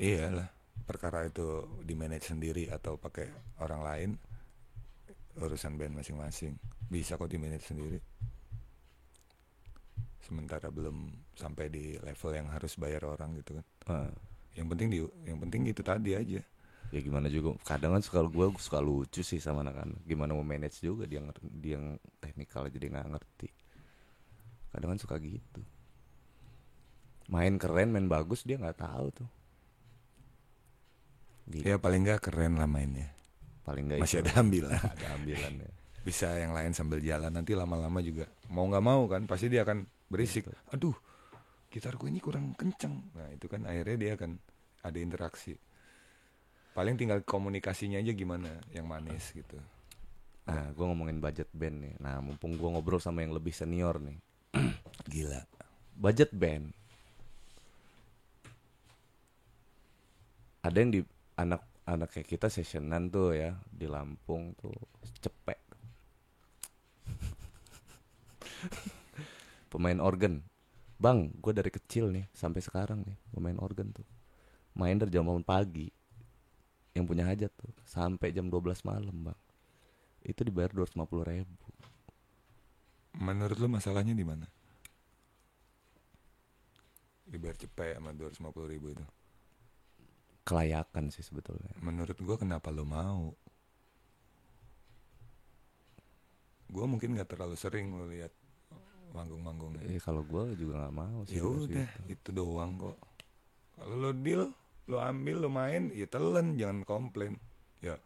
Speaker 2: Iya lah, perkara itu di manage sendiri atau pakai orang lain urusan band masing-masing bisa kok di manage sendiri. Sementara belum sampai di level yang harus bayar orang gitu kan.
Speaker 1: Eh,
Speaker 2: yang penting di yang penting itu tadi aja
Speaker 1: ya gimana juga kadang kan suka gua gua suka lucu sih sama anak-anak. Gimana mau manage juga dia nger- dia yang teknikal aja dia nggak ngerti. Kadang kan suka gitu. Main keren, main bagus dia nggak tahu tuh. Gila.
Speaker 2: ya paling nggak keren lah mainnya
Speaker 1: paling nggak Ya,
Speaker 2: masih
Speaker 1: itu.
Speaker 2: ada ambilan
Speaker 1: ada ambilan ya
Speaker 2: bisa yang lain sambil jalan nanti lama-lama juga mau nggak mau kan pasti dia akan berisik aduh gitarku ini kurang kenceng nah itu kan akhirnya dia akan ada interaksi paling tinggal komunikasinya aja gimana yang manis gitu
Speaker 1: nah gue ngomongin budget band nih nah mumpung gue ngobrol sama yang lebih senior nih
Speaker 2: gila
Speaker 1: budget band ada yang di anak anak kayak kita sessionan tuh ya di Lampung tuh cepet pemain organ bang gue dari kecil nih sampai sekarang nih pemain organ tuh main dari jam 8 pagi yang punya hajat tuh sampai jam 12 malam bang itu dibayar 250 ribu
Speaker 2: menurut lu masalahnya di mana dibayar cepet sama 250 ribu itu
Speaker 1: kelayakan sih sebetulnya
Speaker 2: Menurut gua kenapa lo mau? Gua mungkin nggak terlalu sering lo lihat manggung-manggungnya.
Speaker 1: Eh, kalau gue juga nggak mau sih.
Speaker 2: Ya
Speaker 1: kalau
Speaker 2: udah,
Speaker 1: segitu.
Speaker 2: itu doang kok. Kalau lo deal, lo ambil, lo main, ya telan, jangan komplain. Ya,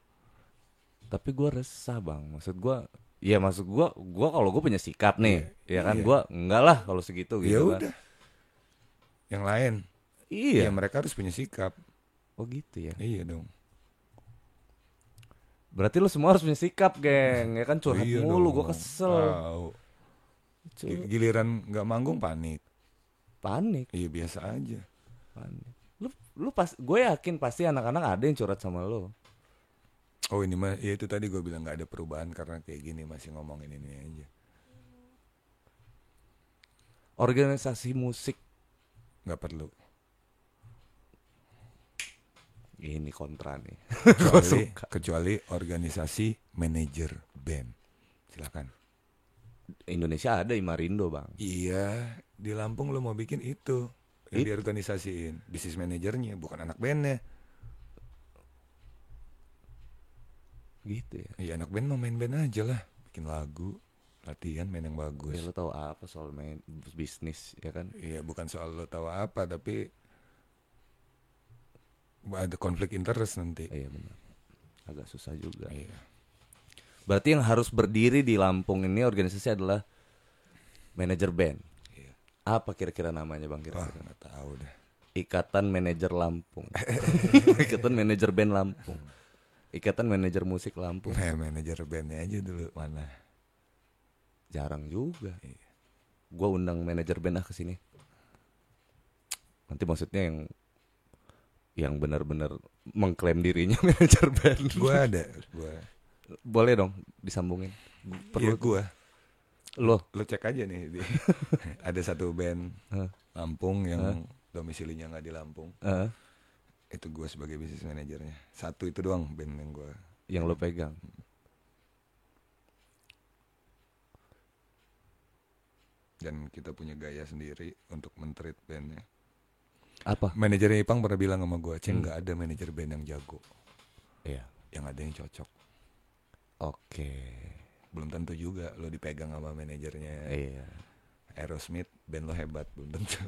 Speaker 1: Tapi gue resah bang. Maksud gue, ya maksud gue, gue kalau gue punya sikap nih, ya kan
Speaker 2: Iya.
Speaker 1: gue enggak lah kalau segitu
Speaker 2: ya
Speaker 1: gitu kan.
Speaker 2: udah. Yang lain,
Speaker 1: Iya.
Speaker 2: ya mereka harus punya sikap.
Speaker 1: Oh gitu ya.
Speaker 2: Iya dong.
Speaker 1: Berarti lu semua harus punya sikap, geng. Ya kan curhat
Speaker 2: Iya
Speaker 1: mulu,
Speaker 2: dong. Ah.
Speaker 1: gue kesel.
Speaker 2: Tahu.
Speaker 1: Cu-
Speaker 2: Giliran nggak manggung panik.
Speaker 1: Panik.
Speaker 2: Iya biasa aja.
Speaker 1: apaan lu lu pas gue yakin pasti anak-anak ada yang curhat sama lu
Speaker 2: Oh ini mah ya itu tadi gue bilang nggak ada perubahan karena kayak gini masih ngomongin ini aja.
Speaker 1: organisasi musik
Speaker 2: Nggak perlu.
Speaker 1: ini kontra nih gue
Speaker 2: Kecuali,
Speaker 1: suka
Speaker 2: kecuali organisasi manajer band. Silakan.
Speaker 1: Indonesia ada Imarindo bang
Speaker 2: Iya, di Lampung lo mau bikin itu yang
Speaker 1: Itu.
Speaker 2: diorganisasiin bisnis manajernya bukan anak bandnya.
Speaker 1: gitu ya
Speaker 2: Iya anak band mau main band aja lah, bikin lagu, latihan main yang
Speaker 1: ya
Speaker 2: bagus.
Speaker 1: lu tahu apa soal main bisnis ya kan
Speaker 2: Iya bukan soal lo tahu apa tapi ada konflik interest nanti.
Speaker 1: iya benar agak susah juga
Speaker 2: Iya.
Speaker 1: berarti yang harus berdiri di Lampung ini organisasi adalah manajer band
Speaker 2: Iya.
Speaker 1: apa kira-kira namanya bang
Speaker 2: Wah
Speaker 1: kira-kira
Speaker 2: nggak tahu dah.
Speaker 1: Ikatan Manajer Lampung. Ikatan Manajer Band Lampung. Ikatan Manajer Musik Lampung.
Speaker 2: Nah, manajer bandnya aja dulu mana?
Speaker 1: Jarang juga.
Speaker 2: Iya.
Speaker 1: Gua undang manajer band ah ke sini. Nanti maksudnya yang yang benar-benar mengklaim dirinya manajer band.
Speaker 2: Gue ada, gue.
Speaker 1: Boleh dong disambungin. Perlu
Speaker 2: Perlu gue.
Speaker 1: loh.
Speaker 2: Lo cek aja nih. di- ada satu band
Speaker 1: Heeh.
Speaker 2: Lampung yang domisilinya nggak di Lampung.
Speaker 1: Heeh,
Speaker 2: Itu gue sebagai bisnis manajernya. Satu itu doang band yang gue.
Speaker 1: yang lo pegang.
Speaker 2: Dan kita punya gaya sendiri untuk mentreat bandnya.
Speaker 1: Apa?
Speaker 2: Manajernya Ipang pernah bilang sama gue,
Speaker 1: Hmm.
Speaker 2: Ceng nggak ada manajer band yang jago.
Speaker 1: Iya.
Speaker 2: Yang ada yang cocok.
Speaker 1: Oke.
Speaker 2: Belum tentu juga lo dipegang sama manajernya
Speaker 1: Iya.
Speaker 2: Aerosmith, band lo hebat. Belum tentu.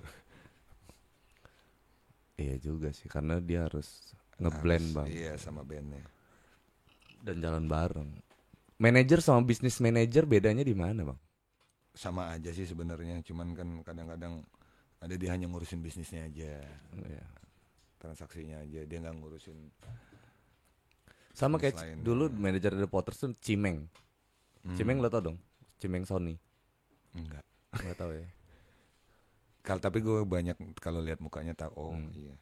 Speaker 1: Iya juga sih karena dia harus ngeblend
Speaker 2: Harus-
Speaker 1: bang.
Speaker 2: Iya sama bandnya.
Speaker 1: dan jalan bareng. Manajer sama bisnis manajer bedanya di mana, Bang?
Speaker 2: sama aja sih sebenarnya cuman kan kadang-kadang ada dia hanya ngurusin bisnisnya aja
Speaker 1: Iya.
Speaker 2: transaksinya aja dia nggak ngurusin
Speaker 1: Sama kayak
Speaker 2: Bisnis lain.
Speaker 1: dulu manajer The Potters tuh Cimeng. Cimeng lo tau dong? Cimeng Sony.
Speaker 2: enggak
Speaker 1: Gak tau ya.
Speaker 2: kalau tapi gue banyak kalau lihat mukanya tahu oh
Speaker 1: Hmm.
Speaker 2: iya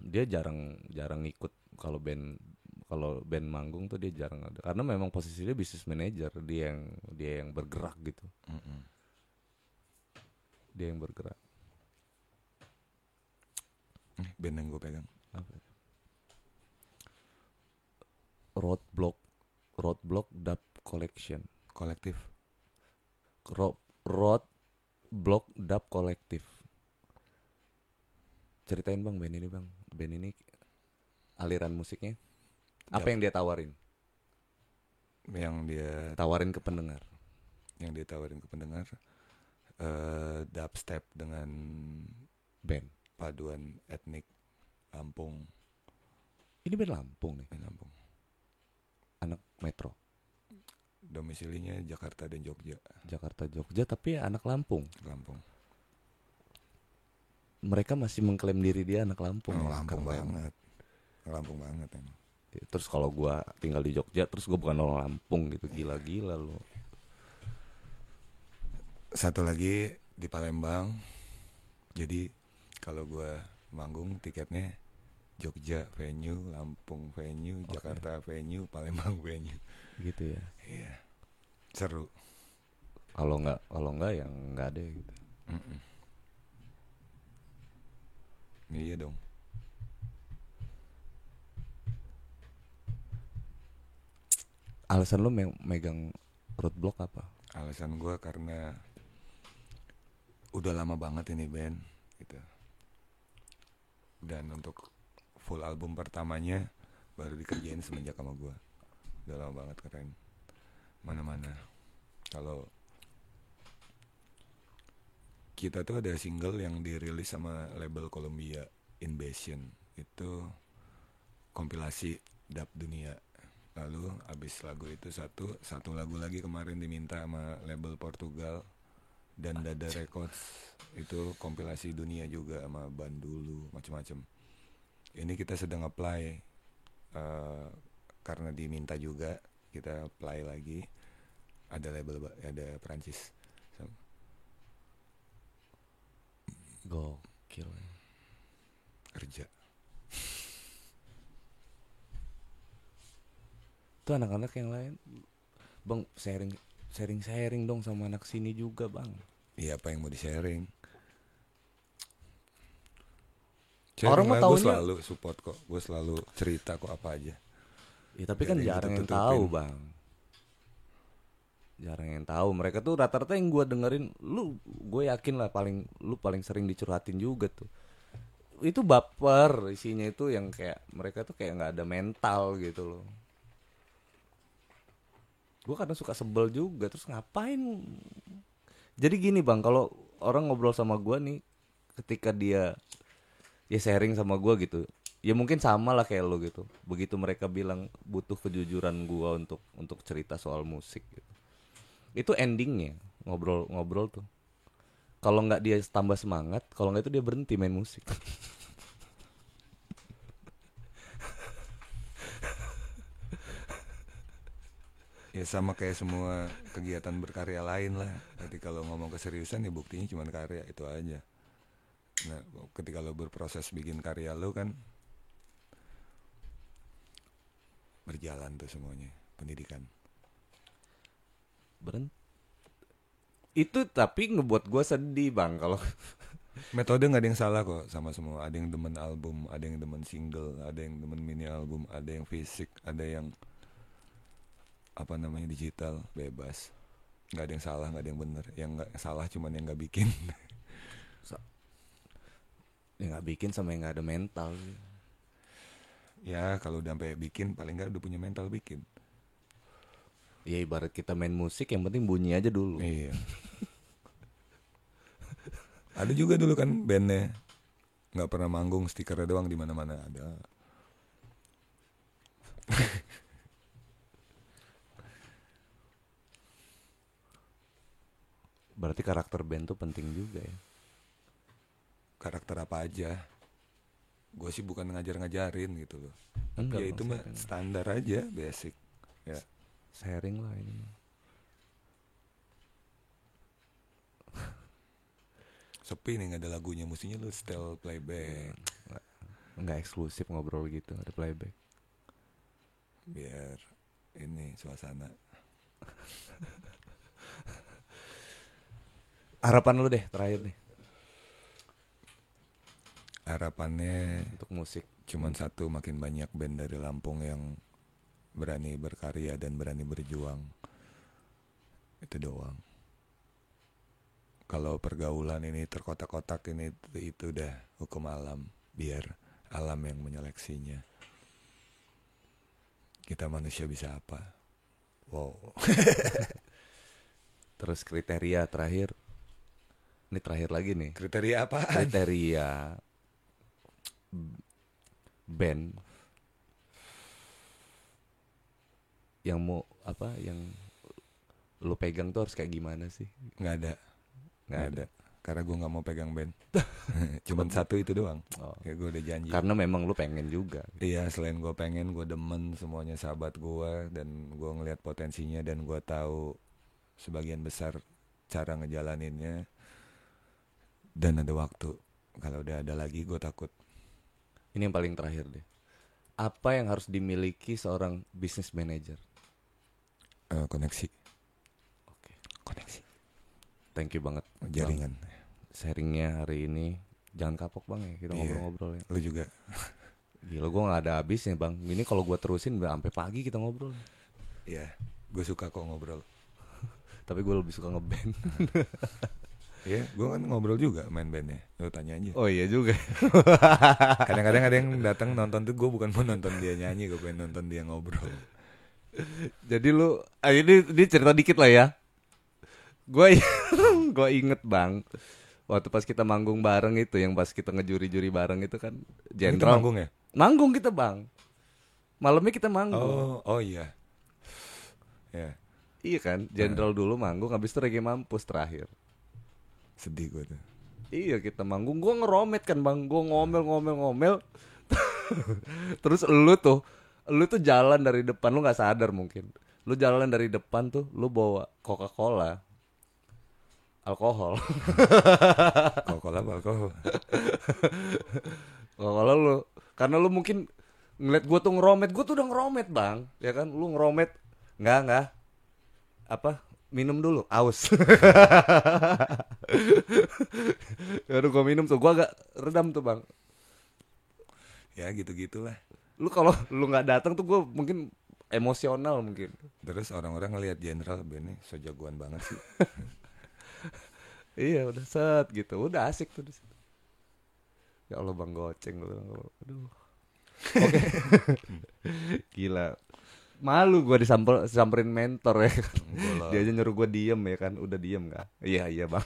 Speaker 1: Dia jarang jarang ikut kalau band kalau band manggung tuh dia jarang ada karena memang posisi dia bisnis manajer, dia yang dia yang bergerak gitu.
Speaker 2: Mm-mm.
Speaker 1: Dia yang bergerak.
Speaker 2: Eh, band yang gue pegang
Speaker 1: Roadblock Roadblock Dub Collection.
Speaker 2: kolektif
Speaker 1: Ro- Road Block Dub Collective. Ceritain bang band ini bang, band ini aliran musiknya apa
Speaker 2: Dub.
Speaker 1: yang dia tawarin?
Speaker 2: yang dia
Speaker 1: Tawarin ke pendengar.
Speaker 2: yang dia tawarin ke pendengar eh dubstep dengan
Speaker 1: Band.
Speaker 2: paduan etnik Lampung
Speaker 1: Ini band Lampung nih,
Speaker 2: eh, Lampung
Speaker 1: anak Metro,
Speaker 2: domisilinya Jakarta dan Jogja
Speaker 1: Jakarta, Jogja, tapi anak Lampung.
Speaker 2: Lampung
Speaker 1: Mereka masih mengklaim diri dia anak Lampung. ya,
Speaker 2: Oh, Lampung
Speaker 1: keren.
Speaker 2: banget Lampung banget emang
Speaker 1: Terus kalau gua tinggal di Jogja, terus gua bukan orang Lampung gitu, gila-gila lo.
Speaker 2: satu lagi di Palembang. Jadi kalau gua manggung tiketnya Jogja venue, Lampung venue, Jakarta venue, Palembang venue.
Speaker 1: Gitu ya.
Speaker 2: Iya. Seru.
Speaker 1: Kalau nggak, kalau nggak ya nggak ada gitu.
Speaker 2: Iya dong.
Speaker 1: Alasan lo me- megang roadblock apa?
Speaker 2: Alasan gua karena udah lama banget ini band gitu. Dan untuk full album pertamanya baru dikerjain semenjak sama gua. Udah lama banget keren. Mana-mana. Kalau kita tuh ada single yang dirilis sama label Columbia Invasion itu kompilasi dap dunia lalu abis lagu itu satu satu lagu lagi kemarin diminta sama label Portugal dan Dada Records itu kompilasi dunia juga sama Bandulu macam-macam ini kita sedang apply eh, karena diminta juga kita apply lagi ada label ba- ada Perancis
Speaker 1: Gokil. ya.
Speaker 2: kerja.
Speaker 1: Tuh anak-anak yang lain. Bang, sharing sharing sharing dong sama anak sini juga, Bang.
Speaker 2: Iya apa yang mau di sharing?
Speaker 1: Orang mah
Speaker 2: gue
Speaker 1: taunya-
Speaker 2: selalu support kok, gue selalu cerita kok apa aja.
Speaker 1: Ya tapi kan
Speaker 2: Jadi
Speaker 1: jarang yang
Speaker 2: ditutup-tutupin.
Speaker 1: tahu, Bang. Jarang yang tahu. Mereka tuh rata-rata yang gua dengerin, lu gue yakin lah paling lu paling sering dicurhatin juga tuh. Itu baper isinya itu yang kayak mereka tuh kayak nggak ada mental gitu loh. Gue kadang suka sebel juga terus ngapain jadi gini bang kalau orang ngobrol sama gua nih ketika dia ya sharing sama gua gitu ya mungkin sama lah kayak lo gitu begitu mereka bilang butuh kejujuran gua untuk untuk cerita soal musik gitu. itu endingnya ngobrol-ngobrol tuh kalau nggak dia tambah semangat kalau nggak itu dia berhenti main musik
Speaker 2: Ya sama kayak semua kegiatan berkarya lain lah. Ketika lo ngomong keseriusan ya buktinya cuma karya itu aja. Nah, ketika lo berproses bikin karya lo kan berjalan tuh semuanya pendidikan.
Speaker 1: berhenti itu tapi ngebuat gua sedih bang kalau
Speaker 2: Metode nggak ada yang salah kok sama semua. Ada yang demen album, ada yang demen single, ada yang demen mini album, ada yang fisik, ada yang apa namanya digital, bebas. Nggak ada yang salah, nggak ada yang bener. Yang nggak salah cuman yang nggak bikin.
Speaker 1: ya nggak bikin sama yang nggak ada mental gitu.
Speaker 2: ya kalau udah sampai bikin, paling nggak udah punya mental bikin.
Speaker 1: ya ibarat kita main musik yang penting bunyi aja dulu
Speaker 2: Iya. ada juga dulu kan bandnya nggak pernah manggung stikernya doang di mana-mana ada.
Speaker 1: berarti karakter band tuh penting juga ya
Speaker 2: karakter apa aja gue sih bukan ngajar-ngajarin gitu loh
Speaker 1: Enggak,
Speaker 2: ya itu mah
Speaker 1: maksudnya.
Speaker 2: standar aja basic ya
Speaker 1: sharing lah ini mah.
Speaker 2: sepi nih nggak ada lagunya mestinya lu style playback
Speaker 1: nggak eksklusif ngobrol gitu ada playback
Speaker 2: biar ini suasana
Speaker 1: harapan lu deh terakhir nih
Speaker 2: harapannya
Speaker 1: untuk musik
Speaker 2: cuman satu makin banyak band dari Lampung yang berani berkarya dan berani berjuang itu doang kalau pergaulan ini terkotak-kotak ini itu, itu udah hukum alam biar alam yang menyeleksinya kita manusia bisa apa wow
Speaker 1: terus kriteria terakhir ini terakhir lagi nih
Speaker 2: kriteria apa
Speaker 1: kriteria b- band yang mau apa yang lu pegang tuh harus kayak gimana sih
Speaker 2: nggak ada nggak
Speaker 1: Nggak
Speaker 2: ada karena gue nggak mau pegang band cuman satu itu doang
Speaker 1: Oh.
Speaker 2: ya gue udah janji
Speaker 1: karena memang lu pengen juga
Speaker 2: Iya selain gue pengen gue demen semuanya sahabat gue dan gue ngelihat potensinya dan gue tahu sebagian besar cara ngejalaninnya dan ada waktu kalau udah ada lagi gue takut
Speaker 1: ini yang paling terakhir deh apa yang harus dimiliki seorang business manager
Speaker 2: eh, koneksi
Speaker 1: oke
Speaker 2: koneksi
Speaker 1: thank you banget Bang.
Speaker 2: jaringan
Speaker 1: sharingnya hari ini jangan kapok bang ya kita
Speaker 2: Iya.
Speaker 1: ngobrol-ngobrol ya
Speaker 2: lu juga
Speaker 1: gila gue nggak ada habisnya bang ini kalau gue terusin udah sampai pagi kita ngobrol
Speaker 2: Iya gue suka kok ngobrol
Speaker 1: tapi gue lebih suka ngeband
Speaker 2: Iya gue kan ngobrol juga main bandnya lu tanya aja
Speaker 1: oh iya juga
Speaker 2: kadang-kadang ada yang datang nonton tuh gue bukan mau nonton dia nyanyi gue pengen nonton dia ngobrol
Speaker 1: jadi lu ah, ini ini cerita dikit lah ya gue gue inget bang waktu pas kita manggung bareng itu yang pas kita ngejuri-juri bareng itu kan
Speaker 2: Ini
Speaker 1: jenderal
Speaker 2: manggung ya
Speaker 1: manggung kita bang malamnya kita manggung
Speaker 2: oh oh iya ya
Speaker 1: iya kan jenderal dulu manggung habis itu reggae mampus terakhir
Speaker 2: sedih gue tuh
Speaker 1: Iya kita manggung Gue ngeromet kan bang Gue ngomel ngomel ngomel Terus lu tuh Lu tuh jalan dari depan Lu gak sadar mungkin Lu jalan dari depan tuh Lu bawa Coca-Cola Alkohol
Speaker 2: Coca-Cola apa alkohol?
Speaker 1: kalau lu karena lu mungkin ngeliat gue tuh ngeromet gue tuh udah ngeromet bang ya kan lu ngeromet nggak nggak apa minum dulu aus baru gue minum tuh gue agak redam tuh bang
Speaker 2: ya gitu gitulah
Speaker 1: lu kalau lu nggak datang tuh gue mungkin emosional mungkin
Speaker 2: terus orang-orang ngelihat jenderal bene so jagoan banget sih
Speaker 1: iya udah set gitu udah asik tuh di situ. ya allah bang goceng lu aduh oke gila malu gue disamper samperin mentor ya kan.
Speaker 2: Bolong.
Speaker 1: dia aja nyuruh gue diem ya kan udah diem nggak iya iya bang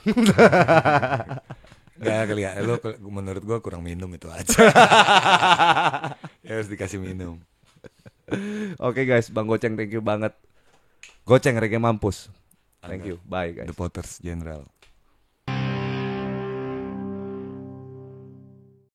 Speaker 2: Gak kelihatan lo ke- menurut gua kurang minum itu aja ya harus dikasih minum
Speaker 1: oke guys bang goceng thank you banget goceng rege mampus thank you bye guys
Speaker 2: The Potters General